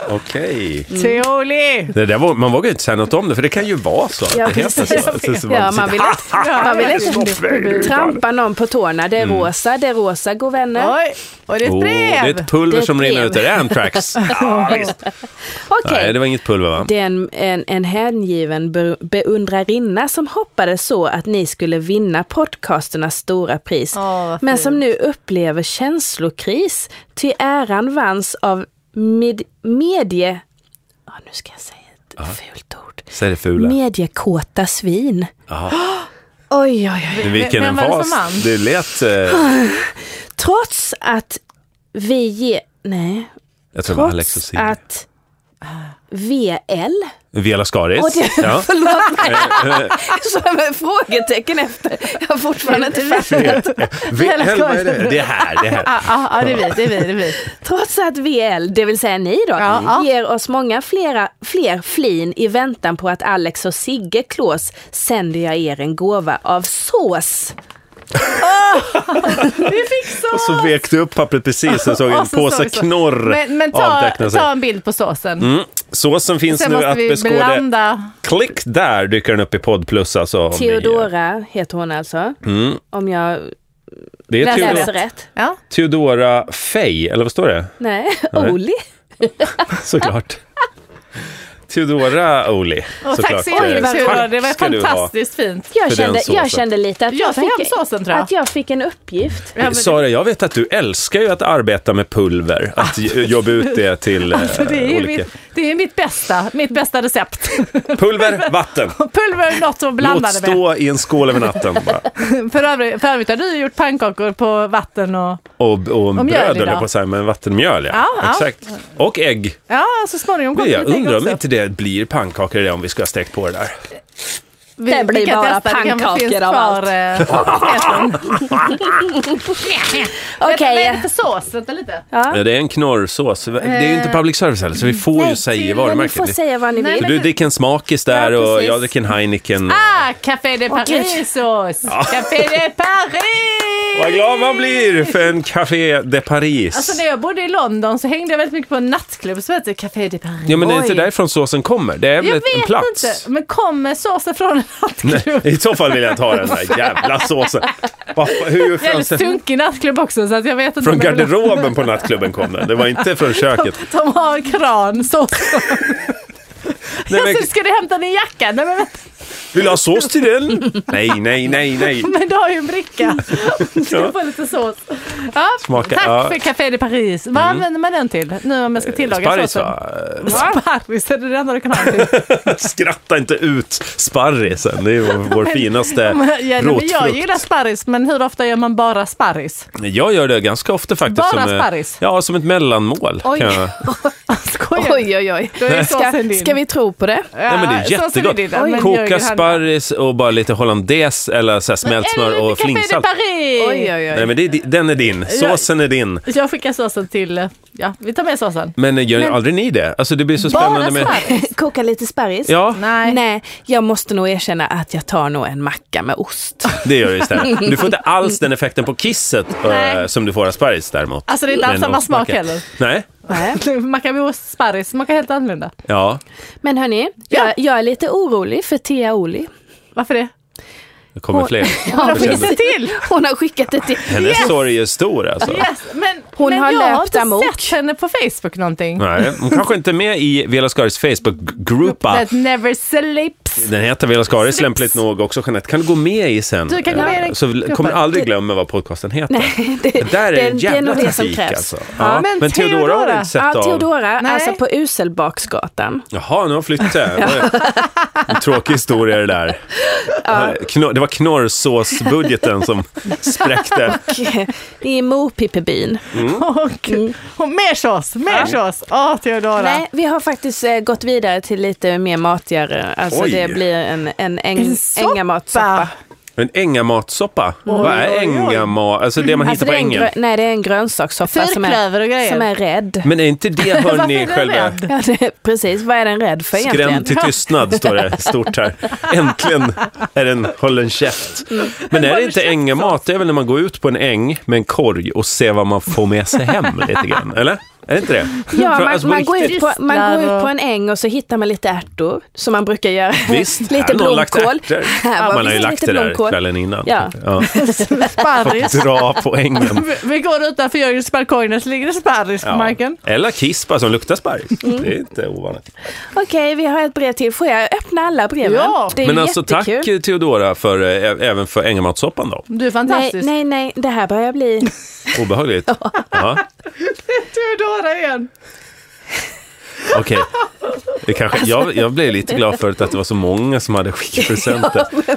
[SPEAKER 2] Okej.
[SPEAKER 3] Toli!
[SPEAKER 2] Det där var, man vågar ju inte säga något om det, för det kan ju vara så. att
[SPEAKER 4] Ja,
[SPEAKER 2] det heter
[SPEAKER 4] precis.
[SPEAKER 2] så. Alltså, så
[SPEAKER 4] Ja, man
[SPEAKER 2] sitter-
[SPEAKER 4] vill inte, man vill
[SPEAKER 3] Ah!
[SPEAKER 4] inte trampa någon på tårna. Det är rosa, det är rosa, god vänner.
[SPEAKER 3] Oj, och det är ett
[SPEAKER 2] Åh, det är
[SPEAKER 3] brev!
[SPEAKER 2] ett pulver
[SPEAKER 4] Det är ett
[SPEAKER 2] som rinner
[SPEAKER 4] brev.
[SPEAKER 2] ut. Är det Antrax? Ja, visst.
[SPEAKER 4] Okej.
[SPEAKER 2] Nej, det var inget pulver
[SPEAKER 3] Liksom.
[SPEAKER 2] va?
[SPEAKER 4] Det är en, en, en hängiven be- beundrarinna som hoppades så att ni skulle vinna podcasternas stora pris.
[SPEAKER 3] Åh, vad
[SPEAKER 4] men
[SPEAKER 3] fint.
[SPEAKER 4] som nu upplever känslokris. Ty äran vanns av med, medie... Ja, nu ska jag säga ett fult ord.
[SPEAKER 2] Säg det fula.
[SPEAKER 4] Mediekåta svin.
[SPEAKER 2] Jaha.
[SPEAKER 4] Oj, oj, oj.
[SPEAKER 2] Men Vilken
[SPEAKER 3] Vem var det för
[SPEAKER 2] emfas.
[SPEAKER 3] man?
[SPEAKER 2] Det lät... Eh,
[SPEAKER 4] Trots att vi ge... Nej.
[SPEAKER 2] jag tror det var Alex och
[SPEAKER 4] Trots
[SPEAKER 2] Sigge.
[SPEAKER 4] att VL.
[SPEAKER 2] Viola
[SPEAKER 4] Och
[SPEAKER 2] Skaris.
[SPEAKER 4] det,
[SPEAKER 2] Ja.
[SPEAKER 4] förlåt mig. Som ett frågetecken efter. Jag har fortfarande inte fattat.
[SPEAKER 2] Vi-
[SPEAKER 3] Viola
[SPEAKER 2] Hel- vad är
[SPEAKER 3] Skaris.
[SPEAKER 2] det? det är här, det är här.
[SPEAKER 3] Ja, ja, ja, det är vi, det är vi, det är vi.
[SPEAKER 4] Trots att VL, det vill säga ni då,
[SPEAKER 3] Ja, ja.
[SPEAKER 4] ger oss många flera, fler flin i väntan på att Alex och Sigge klås sänder jag er en gåva av sås.
[SPEAKER 3] Vi fick
[SPEAKER 2] Och
[SPEAKER 3] sås!
[SPEAKER 2] så vek du upp pappret precis och såg en
[SPEAKER 3] Och så såg
[SPEAKER 2] påse
[SPEAKER 3] vi så.
[SPEAKER 2] knorr
[SPEAKER 3] Men, men ta,
[SPEAKER 2] avteckna sig. Mm.
[SPEAKER 3] ta en bild på såsen.
[SPEAKER 2] Såsen finns
[SPEAKER 3] Sen
[SPEAKER 2] nu
[SPEAKER 3] måste
[SPEAKER 2] att
[SPEAKER 3] vi
[SPEAKER 2] beskåda.
[SPEAKER 3] blanda.
[SPEAKER 2] Klick där dyker den upp i podd plus alltså. om ni-
[SPEAKER 4] Theodora heter hon alltså.
[SPEAKER 2] Mm.
[SPEAKER 4] Om jag
[SPEAKER 2] Det är
[SPEAKER 3] Läser
[SPEAKER 2] Theodora,
[SPEAKER 4] läser rätt.
[SPEAKER 3] Ja.
[SPEAKER 2] Theodora Fey, eller vad står det?
[SPEAKER 4] Nej,
[SPEAKER 2] Nej.
[SPEAKER 4] Oli.
[SPEAKER 2] Såklart. Theodora Oli.
[SPEAKER 3] Och tack så
[SPEAKER 2] såklart. Eh,
[SPEAKER 4] vad
[SPEAKER 3] jättemycket. Theodora. Det var
[SPEAKER 2] tack ska du ha.
[SPEAKER 3] fantastiskt fint.
[SPEAKER 4] Jag
[SPEAKER 2] För den
[SPEAKER 4] kände,
[SPEAKER 2] såsen.
[SPEAKER 4] jag kände lite att
[SPEAKER 3] Jag
[SPEAKER 4] jag,
[SPEAKER 3] fick hem
[SPEAKER 4] fick,
[SPEAKER 3] såsen tror jag.
[SPEAKER 4] att jag fick en uppgift.
[SPEAKER 3] Ja, men-
[SPEAKER 2] Sara, jag vet att du älskar ju att arbeta med pulver, att j- jobba ut det till eh,
[SPEAKER 3] Alltså, Ah. det, är ju
[SPEAKER 2] olika...
[SPEAKER 3] mitt, det är mitt bästa, mitt bästa recept.
[SPEAKER 2] Pulver, vatten.
[SPEAKER 3] Pulver, något att blanda
[SPEAKER 2] Låt
[SPEAKER 3] det med.
[SPEAKER 2] stå i en skål över natten bara.
[SPEAKER 3] För övrigt, för övrigt har du gjort pannkakor på vatten och
[SPEAKER 2] Och, och
[SPEAKER 3] mjöl
[SPEAKER 2] bröd, höll
[SPEAKER 3] idag.
[SPEAKER 2] jag på att säga, men vattenmjöl, ja.
[SPEAKER 3] Ja, ja.
[SPEAKER 2] Exakt. Och ägg.
[SPEAKER 3] ja, så småningom
[SPEAKER 2] Men
[SPEAKER 3] kommer
[SPEAKER 2] Jag
[SPEAKER 3] lite ägg
[SPEAKER 2] undrar om
[SPEAKER 3] också.
[SPEAKER 2] inte det blir pannkakor i det om vi ska ha stekt på det där.
[SPEAKER 3] Vi,
[SPEAKER 4] Det blir
[SPEAKER 3] vi kan
[SPEAKER 4] bara
[SPEAKER 3] testa, det kan väl finnas
[SPEAKER 4] pannkakor av
[SPEAKER 3] kvar,
[SPEAKER 4] allt.
[SPEAKER 3] eh,
[SPEAKER 4] Okej.
[SPEAKER 3] Vänta, Vad är det för sås? Vänta lite.
[SPEAKER 4] Ja.
[SPEAKER 2] Ja, det är en knorrsås. Det är ju inte
[SPEAKER 3] Eh,
[SPEAKER 2] public service heller, så vi får ju säga
[SPEAKER 4] men ni
[SPEAKER 2] varumärket.
[SPEAKER 4] får säga vad ni
[SPEAKER 3] Nej,
[SPEAKER 4] vill.
[SPEAKER 2] Du dricker en smakis där
[SPEAKER 4] Ja,
[SPEAKER 2] och
[SPEAKER 4] precis.
[SPEAKER 2] jag dricker en Heineken.
[SPEAKER 3] Ah, Café de Paris-sås! Café de Paris!
[SPEAKER 2] Vad glad man blir för en Café de Paris.
[SPEAKER 3] Alltså när jag bodde i London så hängde jag väldigt mycket på en nattklubb som hette Café de Paris.
[SPEAKER 2] ja, men det är inte
[SPEAKER 4] Oj.
[SPEAKER 2] därifrån såsen kommer. Det är väl
[SPEAKER 3] jag
[SPEAKER 2] ett- en
[SPEAKER 3] vet
[SPEAKER 2] plats.
[SPEAKER 3] inte, men kommer såsen från en nattklubb?
[SPEAKER 2] I så fall vill jag ta den där jävla såsen. Vad- Hur
[SPEAKER 3] Jävligt
[SPEAKER 2] från,
[SPEAKER 3] sunkig nattklubb också så att jag vet inte
[SPEAKER 2] från
[SPEAKER 3] om jag vill-
[SPEAKER 2] garderoben på nattklubben kom den. Det var inte från köket.
[SPEAKER 3] De har en kran, sås.
[SPEAKER 2] Nej, men,
[SPEAKER 3] Alltså, ska du hämta din jacka? Nej, men, vänta,
[SPEAKER 2] vill du ha sås till den? Nej, nej, nej, nej.
[SPEAKER 3] men du har ju en bricka. Du
[SPEAKER 2] Ja.
[SPEAKER 3] ska få lite sås. Ja,
[SPEAKER 2] Smaka,
[SPEAKER 3] tack
[SPEAKER 2] ja. Mm.
[SPEAKER 3] för Café de Paris. Vad använder man den till nu om jag ska tillaga
[SPEAKER 2] Sparris
[SPEAKER 3] såsen?
[SPEAKER 2] va?
[SPEAKER 3] Sparris, är det det enda du kan ha den till?
[SPEAKER 2] Skratta inte ut sparrisen. Det är ju vår finaste
[SPEAKER 3] Men- ja, nej, men jag
[SPEAKER 2] rotfrukt.
[SPEAKER 3] gillar sparris, men hur ofta gör man bara sparris?
[SPEAKER 2] Jag gör det ganska ofta faktiskt.
[SPEAKER 3] Bara
[SPEAKER 2] som, eh,
[SPEAKER 3] sparris?
[SPEAKER 2] Ja, som ett mellanmål.
[SPEAKER 4] Oj.
[SPEAKER 2] kan jag-
[SPEAKER 3] Skojar du?
[SPEAKER 4] Oj, oj, oj.
[SPEAKER 3] Då är såsen
[SPEAKER 4] Ska,
[SPEAKER 3] din.
[SPEAKER 4] ska vi tro på det?
[SPEAKER 2] Nej, men det är
[SPEAKER 3] Ja, såsen
[SPEAKER 2] jättegott.
[SPEAKER 3] din, men
[SPEAKER 2] Koka
[SPEAKER 3] Jörgen, han-
[SPEAKER 2] sparris och bara lite hollandaise eller så här smält smör
[SPEAKER 3] Eller
[SPEAKER 2] och flingsalt.
[SPEAKER 3] Café de Paris!
[SPEAKER 4] Oj, oj,
[SPEAKER 2] Nej,
[SPEAKER 4] oj.
[SPEAKER 2] men det är, di- den är din. Såsen är din.
[SPEAKER 3] Jag skickar såsen till... eh, Ja, vi tar med såsen.
[SPEAKER 2] Men gör aldrig ni det? Alltså det blir så spännande
[SPEAKER 3] Bara
[SPEAKER 2] med...
[SPEAKER 3] sparris?
[SPEAKER 4] Koka lite sparris.
[SPEAKER 2] Ja,
[SPEAKER 3] Nej.
[SPEAKER 4] Nej, jag måste nog erkänna att jag tar nog en macka med ost.
[SPEAKER 2] det gör du istället. Du får inte alls den effekten på kisset
[SPEAKER 3] Nej.
[SPEAKER 2] eh, som du får av sparris däremot.
[SPEAKER 3] Alltså det är inte alls
[SPEAKER 2] Men
[SPEAKER 3] samma smak
[SPEAKER 2] ostsmaken.
[SPEAKER 3] heller.
[SPEAKER 2] Nej,
[SPEAKER 4] Nej.
[SPEAKER 3] Mackan med ost, sparris smakar helt annorlunda.
[SPEAKER 2] ja.
[SPEAKER 4] Men hörni,
[SPEAKER 3] Ja.
[SPEAKER 4] jag, jag är lite orolig för Tia Oli.
[SPEAKER 3] Varför det?
[SPEAKER 2] Det kommer
[SPEAKER 4] Hon-
[SPEAKER 2] fler.
[SPEAKER 4] Hon har,
[SPEAKER 2] Jag känner-
[SPEAKER 4] skickat,
[SPEAKER 3] till!
[SPEAKER 4] hon har skickat ett till.
[SPEAKER 2] Hennes sorg är stor alltså.
[SPEAKER 3] Yes, men
[SPEAKER 4] Hon
[SPEAKER 3] men
[SPEAKER 4] har
[SPEAKER 3] jag har
[SPEAKER 4] löpt
[SPEAKER 3] inte
[SPEAKER 4] amok.
[SPEAKER 3] sett henne på Facebook någonting.
[SPEAKER 2] Nej, hon kanske inte är med i Vela Skaris Facebookgruppa.
[SPEAKER 3] That never slips.
[SPEAKER 2] Den heter Vela Skaris
[SPEAKER 3] Slips.
[SPEAKER 2] lämpligt nog också, Jeanette. Kan du gå med i sen?
[SPEAKER 3] Du kan gå med i den
[SPEAKER 2] Så vi kommer
[SPEAKER 3] gruppen.
[SPEAKER 2] aldrig glömma vad podcasten heter.
[SPEAKER 4] Nej, det,
[SPEAKER 2] Det där är
[SPEAKER 4] det,
[SPEAKER 2] en
[SPEAKER 4] det är
[SPEAKER 2] jävla
[SPEAKER 4] nog det som
[SPEAKER 2] trafik
[SPEAKER 4] krävs.
[SPEAKER 2] alltså.
[SPEAKER 3] Ja, men
[SPEAKER 2] Theodora har du
[SPEAKER 3] Theodora.
[SPEAKER 2] inte sett
[SPEAKER 4] Ja,
[SPEAKER 2] av.
[SPEAKER 4] Teodora,
[SPEAKER 3] Nej.
[SPEAKER 4] alltså på Uselbaksgatan.
[SPEAKER 2] Jaha, nu har hon flyttat. En tråkig historia det där. Knor- Det var knorrsåsbudgeten som spräckte.
[SPEAKER 4] I Mopippebyn.
[SPEAKER 2] Mm.
[SPEAKER 3] Och, och mer sås, mer sås. Åh, Theodora.
[SPEAKER 4] Nej, vi har faktiskt eh, gått vidare till lite mer matigare. Alltså
[SPEAKER 2] Oj.
[SPEAKER 4] det blir en, en, äng,
[SPEAKER 3] En soppa.
[SPEAKER 4] ängamatsoppa.
[SPEAKER 2] En ängamatsoppa. Vad är
[SPEAKER 3] oj, oj.
[SPEAKER 2] ängamat? Alltså det man hittar
[SPEAKER 4] Alltså det,
[SPEAKER 2] på
[SPEAKER 4] är en
[SPEAKER 2] ängen.
[SPEAKER 4] grö- nej, det är en grönsakssoppa som
[SPEAKER 3] Fyrklöver och
[SPEAKER 4] är,
[SPEAKER 3] grejer.
[SPEAKER 4] som är rädd.
[SPEAKER 2] Men är inte det
[SPEAKER 3] Varför
[SPEAKER 2] hörni
[SPEAKER 3] är den
[SPEAKER 2] själva...
[SPEAKER 3] rädd?
[SPEAKER 4] Ja, det, precis, vad är den rädd för
[SPEAKER 2] Skrämd till
[SPEAKER 4] egentligen?
[SPEAKER 2] tystnad står det stort här. Äntligen är den hållen käft.
[SPEAKER 4] Mm.
[SPEAKER 2] Men är det inte ängamat? Det är väl när man går ut på en äng med en korg och ser vad man får med sig hem lite grann, eller? Är det inte det?
[SPEAKER 4] Ja,
[SPEAKER 2] För,
[SPEAKER 4] man,
[SPEAKER 2] alltså, på
[SPEAKER 4] man, går
[SPEAKER 2] riktigt-
[SPEAKER 4] ut på, man
[SPEAKER 3] Ristlar
[SPEAKER 4] går ut på
[SPEAKER 3] och-
[SPEAKER 4] en äng och så hittar man lite ärtor som man brukar göra.
[SPEAKER 2] Visst, här
[SPEAKER 4] lite
[SPEAKER 2] har någon lagt
[SPEAKER 4] blomkål.
[SPEAKER 2] ärtor.
[SPEAKER 4] Här var
[SPEAKER 2] Man har ju
[SPEAKER 4] visst
[SPEAKER 2] lagt
[SPEAKER 4] lite
[SPEAKER 2] det där
[SPEAKER 4] blomkål.
[SPEAKER 2] kvällen innan.
[SPEAKER 4] Ja.
[SPEAKER 2] Ja.
[SPEAKER 3] Sparris.
[SPEAKER 2] Dra på ängen.
[SPEAKER 3] Vi- Vi går utanför Jörgens balkong och så ligger det sparris på marken.
[SPEAKER 2] Eller kispa som luktar sparris.
[SPEAKER 4] Mm.
[SPEAKER 2] Det är inte ovanligt.
[SPEAKER 4] Okej, vi har ett brev till. Får jag öppna alla breven?
[SPEAKER 3] Ja.
[SPEAKER 4] Det är
[SPEAKER 2] Men
[SPEAKER 4] ju
[SPEAKER 2] alltså tack
[SPEAKER 4] jättekul.
[SPEAKER 2] Theodora för, eh, även för ängamatsoppan då.
[SPEAKER 3] Du är
[SPEAKER 4] Nej,
[SPEAKER 3] fantastisk.
[SPEAKER 4] nej, nej, det här börjar bli...
[SPEAKER 2] Obehagligt. Ja.
[SPEAKER 3] Theodora igen.
[SPEAKER 2] Okej. Det kanske, jag, jag blev lite glad förut att det var så många som hade skitpresenter. Nej,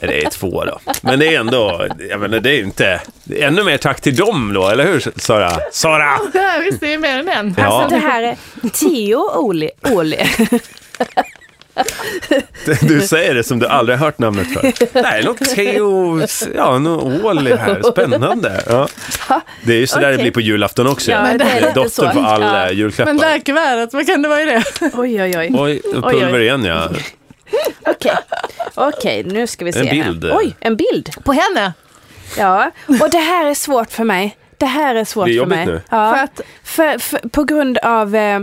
[SPEAKER 2] Det är två då. Men det är ändå, jag menar, det är ju inte... Ännu mer tack till dem då, eller hur Sara? Sara!
[SPEAKER 3] Det här visste ju mer än en.
[SPEAKER 2] Ja.
[SPEAKER 4] Alltså det här är Tio Oli. Oli.
[SPEAKER 2] Du säger det som du aldrig har hört namnet för. Det här är något Theo, ja, någon Åli här. Spännande. Ja. Det är ju sådär det
[SPEAKER 4] Okej.
[SPEAKER 2] blir på julafton också.
[SPEAKER 4] Ja, det är lite
[SPEAKER 2] Dottern
[SPEAKER 4] så.
[SPEAKER 2] får all
[SPEAKER 4] Ja.
[SPEAKER 2] eh, julklappar.
[SPEAKER 3] Men det här kuvertet, vad kan det vara i det?
[SPEAKER 4] Oj, oj, oj.
[SPEAKER 2] Oj,
[SPEAKER 4] Oj,
[SPEAKER 2] pulver
[SPEAKER 4] oj.
[SPEAKER 2] igen ja.
[SPEAKER 4] Okej, Okej, nu ska vi se.
[SPEAKER 2] bild.
[SPEAKER 4] Här. Oj, en bild.
[SPEAKER 3] På henne?
[SPEAKER 4] Ja, och det här är svårt för mig. Det här är svårt
[SPEAKER 2] Det är
[SPEAKER 4] för
[SPEAKER 2] jobbigt
[SPEAKER 4] mig.
[SPEAKER 2] nu.
[SPEAKER 4] Ja.
[SPEAKER 3] För att,
[SPEAKER 4] För, för, på grund av eh,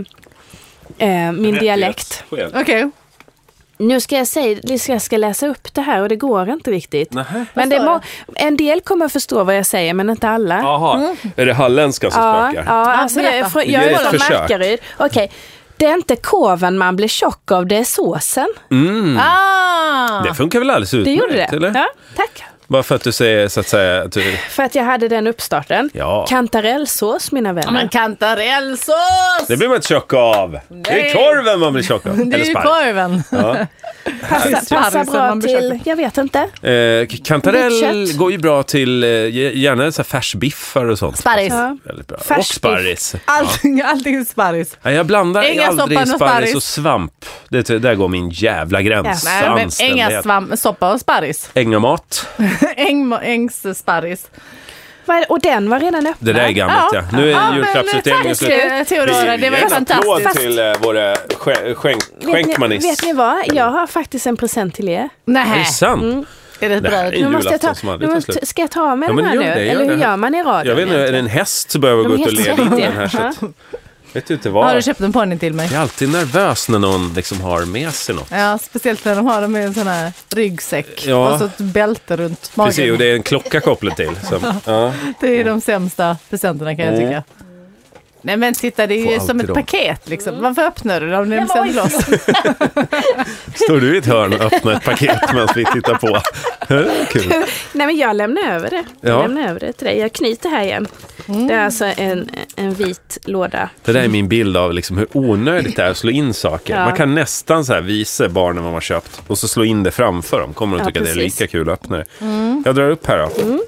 [SPEAKER 4] eh, min dialekt.
[SPEAKER 2] Rättighetsskäl.
[SPEAKER 3] okej.
[SPEAKER 4] Nu ska jag säga, nu ska jag ska läsa upp det här och det går inte riktigt.
[SPEAKER 2] Nähä.
[SPEAKER 4] Men det
[SPEAKER 3] Vad
[SPEAKER 4] är
[SPEAKER 3] står
[SPEAKER 4] må- en del kommer att förstå vad jag säger men inte alla.
[SPEAKER 2] Jaha, är det halländskan som
[SPEAKER 4] ja,
[SPEAKER 2] spökar?
[SPEAKER 4] ja, alltså jag, är
[SPEAKER 3] berätta.
[SPEAKER 4] från-
[SPEAKER 2] Vi
[SPEAKER 4] jag
[SPEAKER 2] ger
[SPEAKER 4] är
[SPEAKER 2] ett
[SPEAKER 4] från
[SPEAKER 2] försök.
[SPEAKER 4] Markaryd. Okej, det är inte korven man blir tjock av, det är såsen.
[SPEAKER 3] Ah!
[SPEAKER 2] Mm. Det funkar väl alldeles
[SPEAKER 4] Det
[SPEAKER 2] utmärkt?
[SPEAKER 4] gjorde det.
[SPEAKER 2] Mm, Eller?
[SPEAKER 4] Ja, tack.
[SPEAKER 2] Bara för att du säger så att säga... Att du,
[SPEAKER 4] För att jag hade den uppstarten.
[SPEAKER 2] Ja.
[SPEAKER 4] Kantarellsås mina
[SPEAKER 3] Ja,
[SPEAKER 4] vänner.
[SPEAKER 3] men kantarellsås!
[SPEAKER 2] det blir man inte tjock av. Det är
[SPEAKER 3] Nej.
[SPEAKER 2] korven man blir tjock av.
[SPEAKER 3] Det är
[SPEAKER 2] Eller
[SPEAKER 3] ju
[SPEAKER 2] sparv.
[SPEAKER 3] korven.
[SPEAKER 2] Ja.
[SPEAKER 4] Passa, passar
[SPEAKER 3] Sparris som
[SPEAKER 4] bra
[SPEAKER 3] man blir tjock
[SPEAKER 4] till, jag vet inte.
[SPEAKER 2] Eh,
[SPEAKER 4] Vitt
[SPEAKER 2] kantarell
[SPEAKER 4] kött.
[SPEAKER 2] går ju bra till eh, gärna så här färsbiffar och sånt.
[SPEAKER 3] Sparris.
[SPEAKER 4] Ja.
[SPEAKER 2] Väldigt bra. Och
[SPEAKER 4] Färsbiff.
[SPEAKER 2] sparris.
[SPEAKER 3] Allting, allting är sparris.
[SPEAKER 2] Nej, jag blandar
[SPEAKER 3] Inga
[SPEAKER 2] aldrig
[SPEAKER 3] soppan
[SPEAKER 2] sparris
[SPEAKER 3] och
[SPEAKER 2] och,
[SPEAKER 3] sparris.
[SPEAKER 2] svamp. Det, där går min jävla gräns.
[SPEAKER 4] Ja,
[SPEAKER 3] Nej, men
[SPEAKER 2] Anständighet.
[SPEAKER 3] inga svamp, soppa och sparris.
[SPEAKER 2] Ängamat.
[SPEAKER 3] Äng, ängssparris.
[SPEAKER 4] Vad är det? Och den var redan öppen.
[SPEAKER 2] Det där är gammalt ja. Nu är
[SPEAKER 3] men
[SPEAKER 2] julklappsutdelningen
[SPEAKER 3] tack
[SPEAKER 2] slut.
[SPEAKER 3] eh, Teodora, det var ju
[SPEAKER 2] En applåd
[SPEAKER 3] fantastiskt.
[SPEAKER 2] till eh, våra ske- skänk,
[SPEAKER 4] vet, ni, vet
[SPEAKER 2] skänkmanis.
[SPEAKER 4] ni vad? Jag har faktiskt en present till er.
[SPEAKER 2] Är det
[SPEAKER 3] Nej,
[SPEAKER 2] sant?
[SPEAKER 3] är det ett
[SPEAKER 2] Det här är
[SPEAKER 3] bröd?
[SPEAKER 2] ju-
[SPEAKER 4] Nu måste jag ta,
[SPEAKER 2] Julafton som aldrig
[SPEAKER 4] nu
[SPEAKER 2] tar
[SPEAKER 4] måste,
[SPEAKER 2] slut.
[SPEAKER 4] ska jag ta
[SPEAKER 2] Ja,
[SPEAKER 4] med den
[SPEAKER 2] men
[SPEAKER 4] här
[SPEAKER 2] gör
[SPEAKER 4] nu?
[SPEAKER 2] det, gör
[SPEAKER 4] Eller hur
[SPEAKER 2] det.
[SPEAKER 4] gör man i radion?
[SPEAKER 2] Jag vet inte, är det
[SPEAKER 4] egentligen?
[SPEAKER 2] en häst så behöver
[SPEAKER 4] De
[SPEAKER 2] gå ut och
[SPEAKER 4] heter
[SPEAKER 2] leda in
[SPEAKER 4] så.
[SPEAKER 2] den här. Så att, vet ju inte
[SPEAKER 3] Har du
[SPEAKER 2] vad.
[SPEAKER 3] köpt en ponny till mig?
[SPEAKER 2] Jag är alltid nervös när någon liksom har med sig något.
[SPEAKER 3] Ja, speciellt när de har dem i en sån här ryggsäck
[SPEAKER 2] Ja.
[SPEAKER 3] och så ett bälte runt magen.
[SPEAKER 2] Precis, och det är en klocka kopplad till. Som, ja. Mm.
[SPEAKER 3] Det är de sämsta presenterna kan jag tycka. Nej men titta det är
[SPEAKER 2] Får
[SPEAKER 3] ju som
[SPEAKER 2] alltid
[SPEAKER 3] ett
[SPEAKER 2] dem.
[SPEAKER 3] paket liksom. Varför öppnar du det om det är sänd loss?
[SPEAKER 2] Står du i ett hörn och öppnar ett paket medan vi tittar på? Kul.
[SPEAKER 4] Nej men jag lämnar över det.
[SPEAKER 2] Ja.
[SPEAKER 4] Jag lämnar över det till dig. Jag knyter här igen.
[SPEAKER 3] Mm.
[SPEAKER 4] Det är alltså en, en vit låda.
[SPEAKER 2] Det där är min bild av liksom hur onödigt det är att slå in saker.
[SPEAKER 4] Ja.
[SPEAKER 2] Man kan nästan så här visa barnen vad man köpt och så slå in det framför dem. Kommer de
[SPEAKER 4] Ja,
[SPEAKER 2] tycka att det är
[SPEAKER 4] precis.
[SPEAKER 2] lika kul att öppna det. Jag drar upp här då.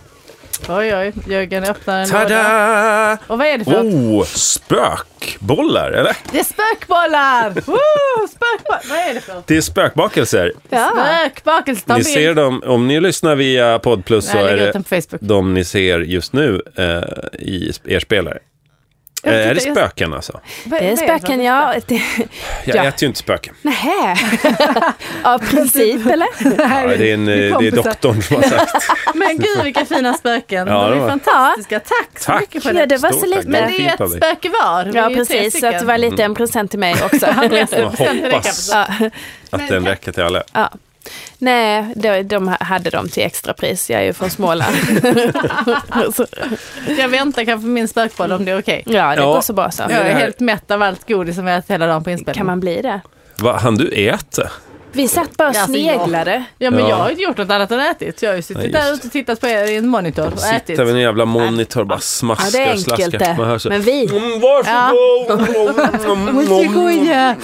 [SPEAKER 3] Oj oj, Jörgen öppnar en låda.
[SPEAKER 2] Tada!
[SPEAKER 3] Och vad är det för något?
[SPEAKER 2] Oh, spökbollar, eller?
[SPEAKER 3] Det är spökbollar! Woo, spökbollar! Vad är det för något?
[SPEAKER 2] Det är spökbakelser.
[SPEAKER 3] Spökbakelse, ta en
[SPEAKER 2] Ni
[SPEAKER 3] bild.
[SPEAKER 2] ser dem, om ni lyssnar via Podd Plus så
[SPEAKER 3] Nej,
[SPEAKER 2] är
[SPEAKER 3] lägg ut
[SPEAKER 2] det
[SPEAKER 3] den på Facebook.
[SPEAKER 2] de ni ser just nu eh, i sp- er spelare.
[SPEAKER 3] Jag
[SPEAKER 2] Eh, är det
[SPEAKER 3] tittar- jag-
[SPEAKER 2] spöken alltså?
[SPEAKER 3] Vad-
[SPEAKER 4] Det är
[SPEAKER 3] vad för
[SPEAKER 4] spöken,
[SPEAKER 3] något?
[SPEAKER 4] ja. Det,
[SPEAKER 2] Jag
[SPEAKER 4] Ja.
[SPEAKER 2] äter ju inte spöken.
[SPEAKER 4] nähä. Av princip eller?
[SPEAKER 2] Ja, det är, en, eh, det är
[SPEAKER 3] kompisar.
[SPEAKER 2] doktorn som har sagt.
[SPEAKER 3] Men gud vilka fina spöken.
[SPEAKER 2] Ja,
[SPEAKER 3] de
[SPEAKER 2] det
[SPEAKER 3] är
[SPEAKER 2] var-
[SPEAKER 3] fantastiska. Tack så
[SPEAKER 2] Tack.
[SPEAKER 3] mycket för
[SPEAKER 4] Ja,
[SPEAKER 3] det.
[SPEAKER 4] det var så
[SPEAKER 2] Stort tack.
[SPEAKER 4] lite.
[SPEAKER 2] Det var
[SPEAKER 3] Men det är
[SPEAKER 2] fint av
[SPEAKER 3] ett
[SPEAKER 2] dig.
[SPEAKER 3] spöke var. Vi är
[SPEAKER 4] Ja
[SPEAKER 3] ju tre
[SPEAKER 4] precis, så att det
[SPEAKER 3] stycken.
[SPEAKER 4] var lite en present till mig också.
[SPEAKER 2] Jag hoppas
[SPEAKER 3] Ja.
[SPEAKER 2] att den räcker till alla.
[SPEAKER 4] Ja. Nej, de, de hade dem till extrapris. Jag är ju från Småland. så,
[SPEAKER 3] Jag väntar kanske på min spökboll om det är okej.
[SPEAKER 4] ja, det
[SPEAKER 2] Ja.
[SPEAKER 4] går så bra så.
[SPEAKER 3] Jag
[SPEAKER 2] det
[SPEAKER 3] är
[SPEAKER 2] här-
[SPEAKER 3] helt mätt av allt godis som jag ätit hela dagen på
[SPEAKER 4] Kan
[SPEAKER 3] inspelningen.
[SPEAKER 4] man bli det?
[SPEAKER 2] Vad han du äter?
[SPEAKER 4] Vi satt bara och
[SPEAKER 3] Alltså,
[SPEAKER 4] sneglade.
[SPEAKER 3] Ja men
[SPEAKER 2] Ja.
[SPEAKER 3] jag har ju inte gjort något annat än ätit. Jag har
[SPEAKER 2] Nej,
[SPEAKER 3] ju suttit
[SPEAKER 2] just
[SPEAKER 3] där ute och tittat på er i en monitor och ätit.
[SPEAKER 2] Sitter vid en jävla monitor och bara smaskar
[SPEAKER 4] Ja, det är
[SPEAKER 2] och slaskar.
[SPEAKER 4] enkelt
[SPEAKER 2] Man hör
[SPEAKER 4] det.
[SPEAKER 2] så.
[SPEAKER 4] Men vi,
[SPEAKER 2] Mm, varsågod! mm,
[SPEAKER 3] Varsågoda!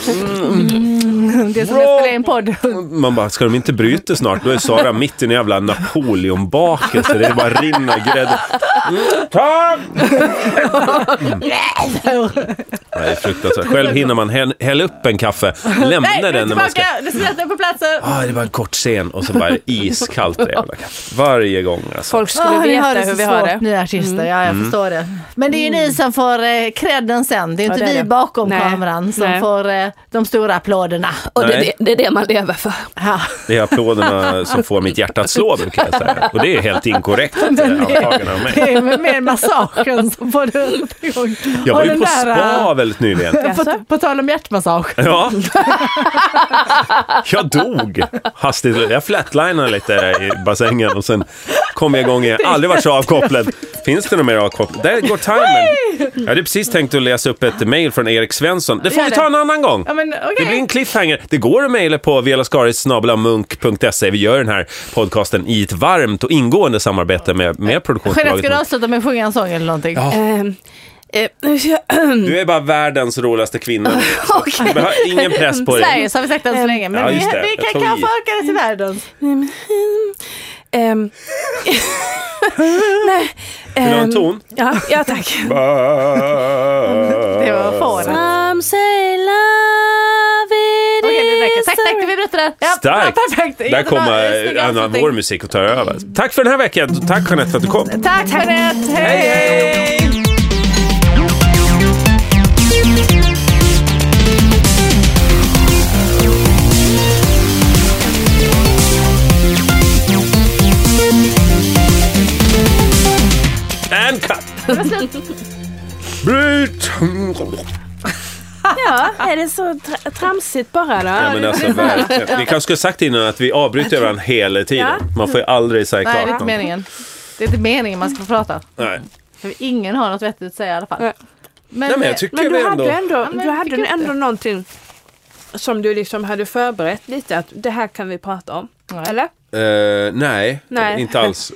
[SPEAKER 3] Mm. Det är som
[SPEAKER 2] Bra.
[SPEAKER 3] jag spelar
[SPEAKER 2] Mm.
[SPEAKER 3] in podd.
[SPEAKER 2] Man bara, ska de inte bryta snart? Då är Sara mitt i en jävla Napoleonbakelse. Det bara rinner grädde. Mm, tack! Nej, det är fruktansvärt. Själv hinner man häll- hälla upp en kaffe, lämna
[SPEAKER 3] Nej, nu är
[SPEAKER 2] den när man ska...
[SPEAKER 3] tillbaka! Nu sätter jag på platsen!
[SPEAKER 2] Ah, det var en kort scen och så bara är det iskallt det jävla kaffet. Varje gång alltså.
[SPEAKER 4] folk skulle
[SPEAKER 3] Ah, ni
[SPEAKER 4] veta
[SPEAKER 3] har det så
[SPEAKER 4] hur vi
[SPEAKER 3] svårt,
[SPEAKER 4] har det. Mm.
[SPEAKER 3] Ni artister, ja jag
[SPEAKER 2] Mm.
[SPEAKER 3] förstår det. Men det är ju ni som får eh, credden sen. Det är ju
[SPEAKER 4] Ja,
[SPEAKER 3] inte
[SPEAKER 4] det är
[SPEAKER 3] vi
[SPEAKER 4] det.
[SPEAKER 3] bakom
[SPEAKER 4] Nej.
[SPEAKER 3] kameran som
[SPEAKER 4] Nej.
[SPEAKER 3] får eh, de stora applåderna.
[SPEAKER 4] Och det,
[SPEAKER 2] Nej.
[SPEAKER 4] det, det är det man lever för.
[SPEAKER 3] Ja.
[SPEAKER 2] Det är applåderna som får mitt hjärta att slå brukar jag säga. Och det är helt inkorrekt antagande av mig.
[SPEAKER 3] Det är väl mer massagen som får det igång.
[SPEAKER 2] Jag
[SPEAKER 3] Och
[SPEAKER 2] var ju
[SPEAKER 3] den
[SPEAKER 2] på
[SPEAKER 3] där,
[SPEAKER 2] spa väldigt nyligen.
[SPEAKER 3] eh, På, på tal om hjärtmassage.
[SPEAKER 2] Ja. Jag dog hastigt. Jag flatlinade lite i bassängen och sen kom jag igång igen. Aldrig varit så avkopplad. Finns det någon mer avkopplad? Där går timern. Jag hade precis tänkt att läsa upp ett mejl från Erik Svensson. Det får vi ta en annan gång.
[SPEAKER 3] Ja, men, okej.
[SPEAKER 2] Det blir en cliffhanger. Det går att mejla på velaskaris.munk.se. Vi gör den här podcasten i ett varmt och ingående samarbete med, med
[SPEAKER 3] Jeanette, ska du
[SPEAKER 2] produktionsbolaget.
[SPEAKER 3] avsluta med att sjunga en sång eller någonting?
[SPEAKER 2] Ja.
[SPEAKER 4] Ehm, eh,
[SPEAKER 2] Du är bara världens roligaste kvinna.
[SPEAKER 4] Okej.
[SPEAKER 2] Jag har ingen press på dig.
[SPEAKER 3] Sverige så har vi sagt än så länge, men
[SPEAKER 2] ja,
[SPEAKER 3] vi,
[SPEAKER 2] just det.
[SPEAKER 3] vi
[SPEAKER 2] Jag
[SPEAKER 3] kan
[SPEAKER 2] tog i.
[SPEAKER 3] kanske öka det till världen.
[SPEAKER 4] Ehm, Nej.
[SPEAKER 2] Vill du ha en
[SPEAKER 4] ehm,
[SPEAKER 2] ton?
[SPEAKER 4] Ja, ja tack.
[SPEAKER 3] Det var fåret.
[SPEAKER 4] Some say love it
[SPEAKER 3] Okej, det räcker.
[SPEAKER 4] is
[SPEAKER 3] Tack, tack, vi bryter där. Ja,
[SPEAKER 2] Starkt!
[SPEAKER 3] ja, perfekt.
[SPEAKER 2] Där
[SPEAKER 3] Jättebra.
[SPEAKER 2] kommer eh,
[SPEAKER 3] Snygga
[SPEAKER 2] Anna,
[SPEAKER 3] avslutning.
[SPEAKER 2] vår musik och tar över. Tack för den här veckan. Tack Jeanette för att du kom.
[SPEAKER 3] Tack Jeanette, hej!
[SPEAKER 2] hej!
[SPEAKER 1] Thank you.
[SPEAKER 4] Ja, är det så tra- tramsigt bara då?
[SPEAKER 2] Ja, men alltså, verkligen. Vi kanske skulle sagt innan att vi avbryter varandra hela tiden.
[SPEAKER 4] Ja.
[SPEAKER 2] Man får ju aldrig säga klart.
[SPEAKER 3] Nej, det är inte
[SPEAKER 2] någonting.
[SPEAKER 3] meningen. Det är inte meningen man ska få prata.
[SPEAKER 2] Nej.
[SPEAKER 3] För ingen har något vettigt att säga i alla fall.
[SPEAKER 4] Nej.
[SPEAKER 3] Men, eh,
[SPEAKER 2] Nej, men jag tycker
[SPEAKER 4] Men
[SPEAKER 2] vi
[SPEAKER 4] du
[SPEAKER 2] ändå...
[SPEAKER 4] hade ändå,
[SPEAKER 3] men
[SPEAKER 4] du
[SPEAKER 3] jag
[SPEAKER 4] hade
[SPEAKER 3] tycker
[SPEAKER 4] ändå
[SPEAKER 3] inte.
[SPEAKER 4] någonting som du liksom hade förberett lite att det här kan vi prata om.
[SPEAKER 3] Nej.
[SPEAKER 4] Eller?
[SPEAKER 2] Eh, nej,
[SPEAKER 4] Nej.
[SPEAKER 2] inte alls.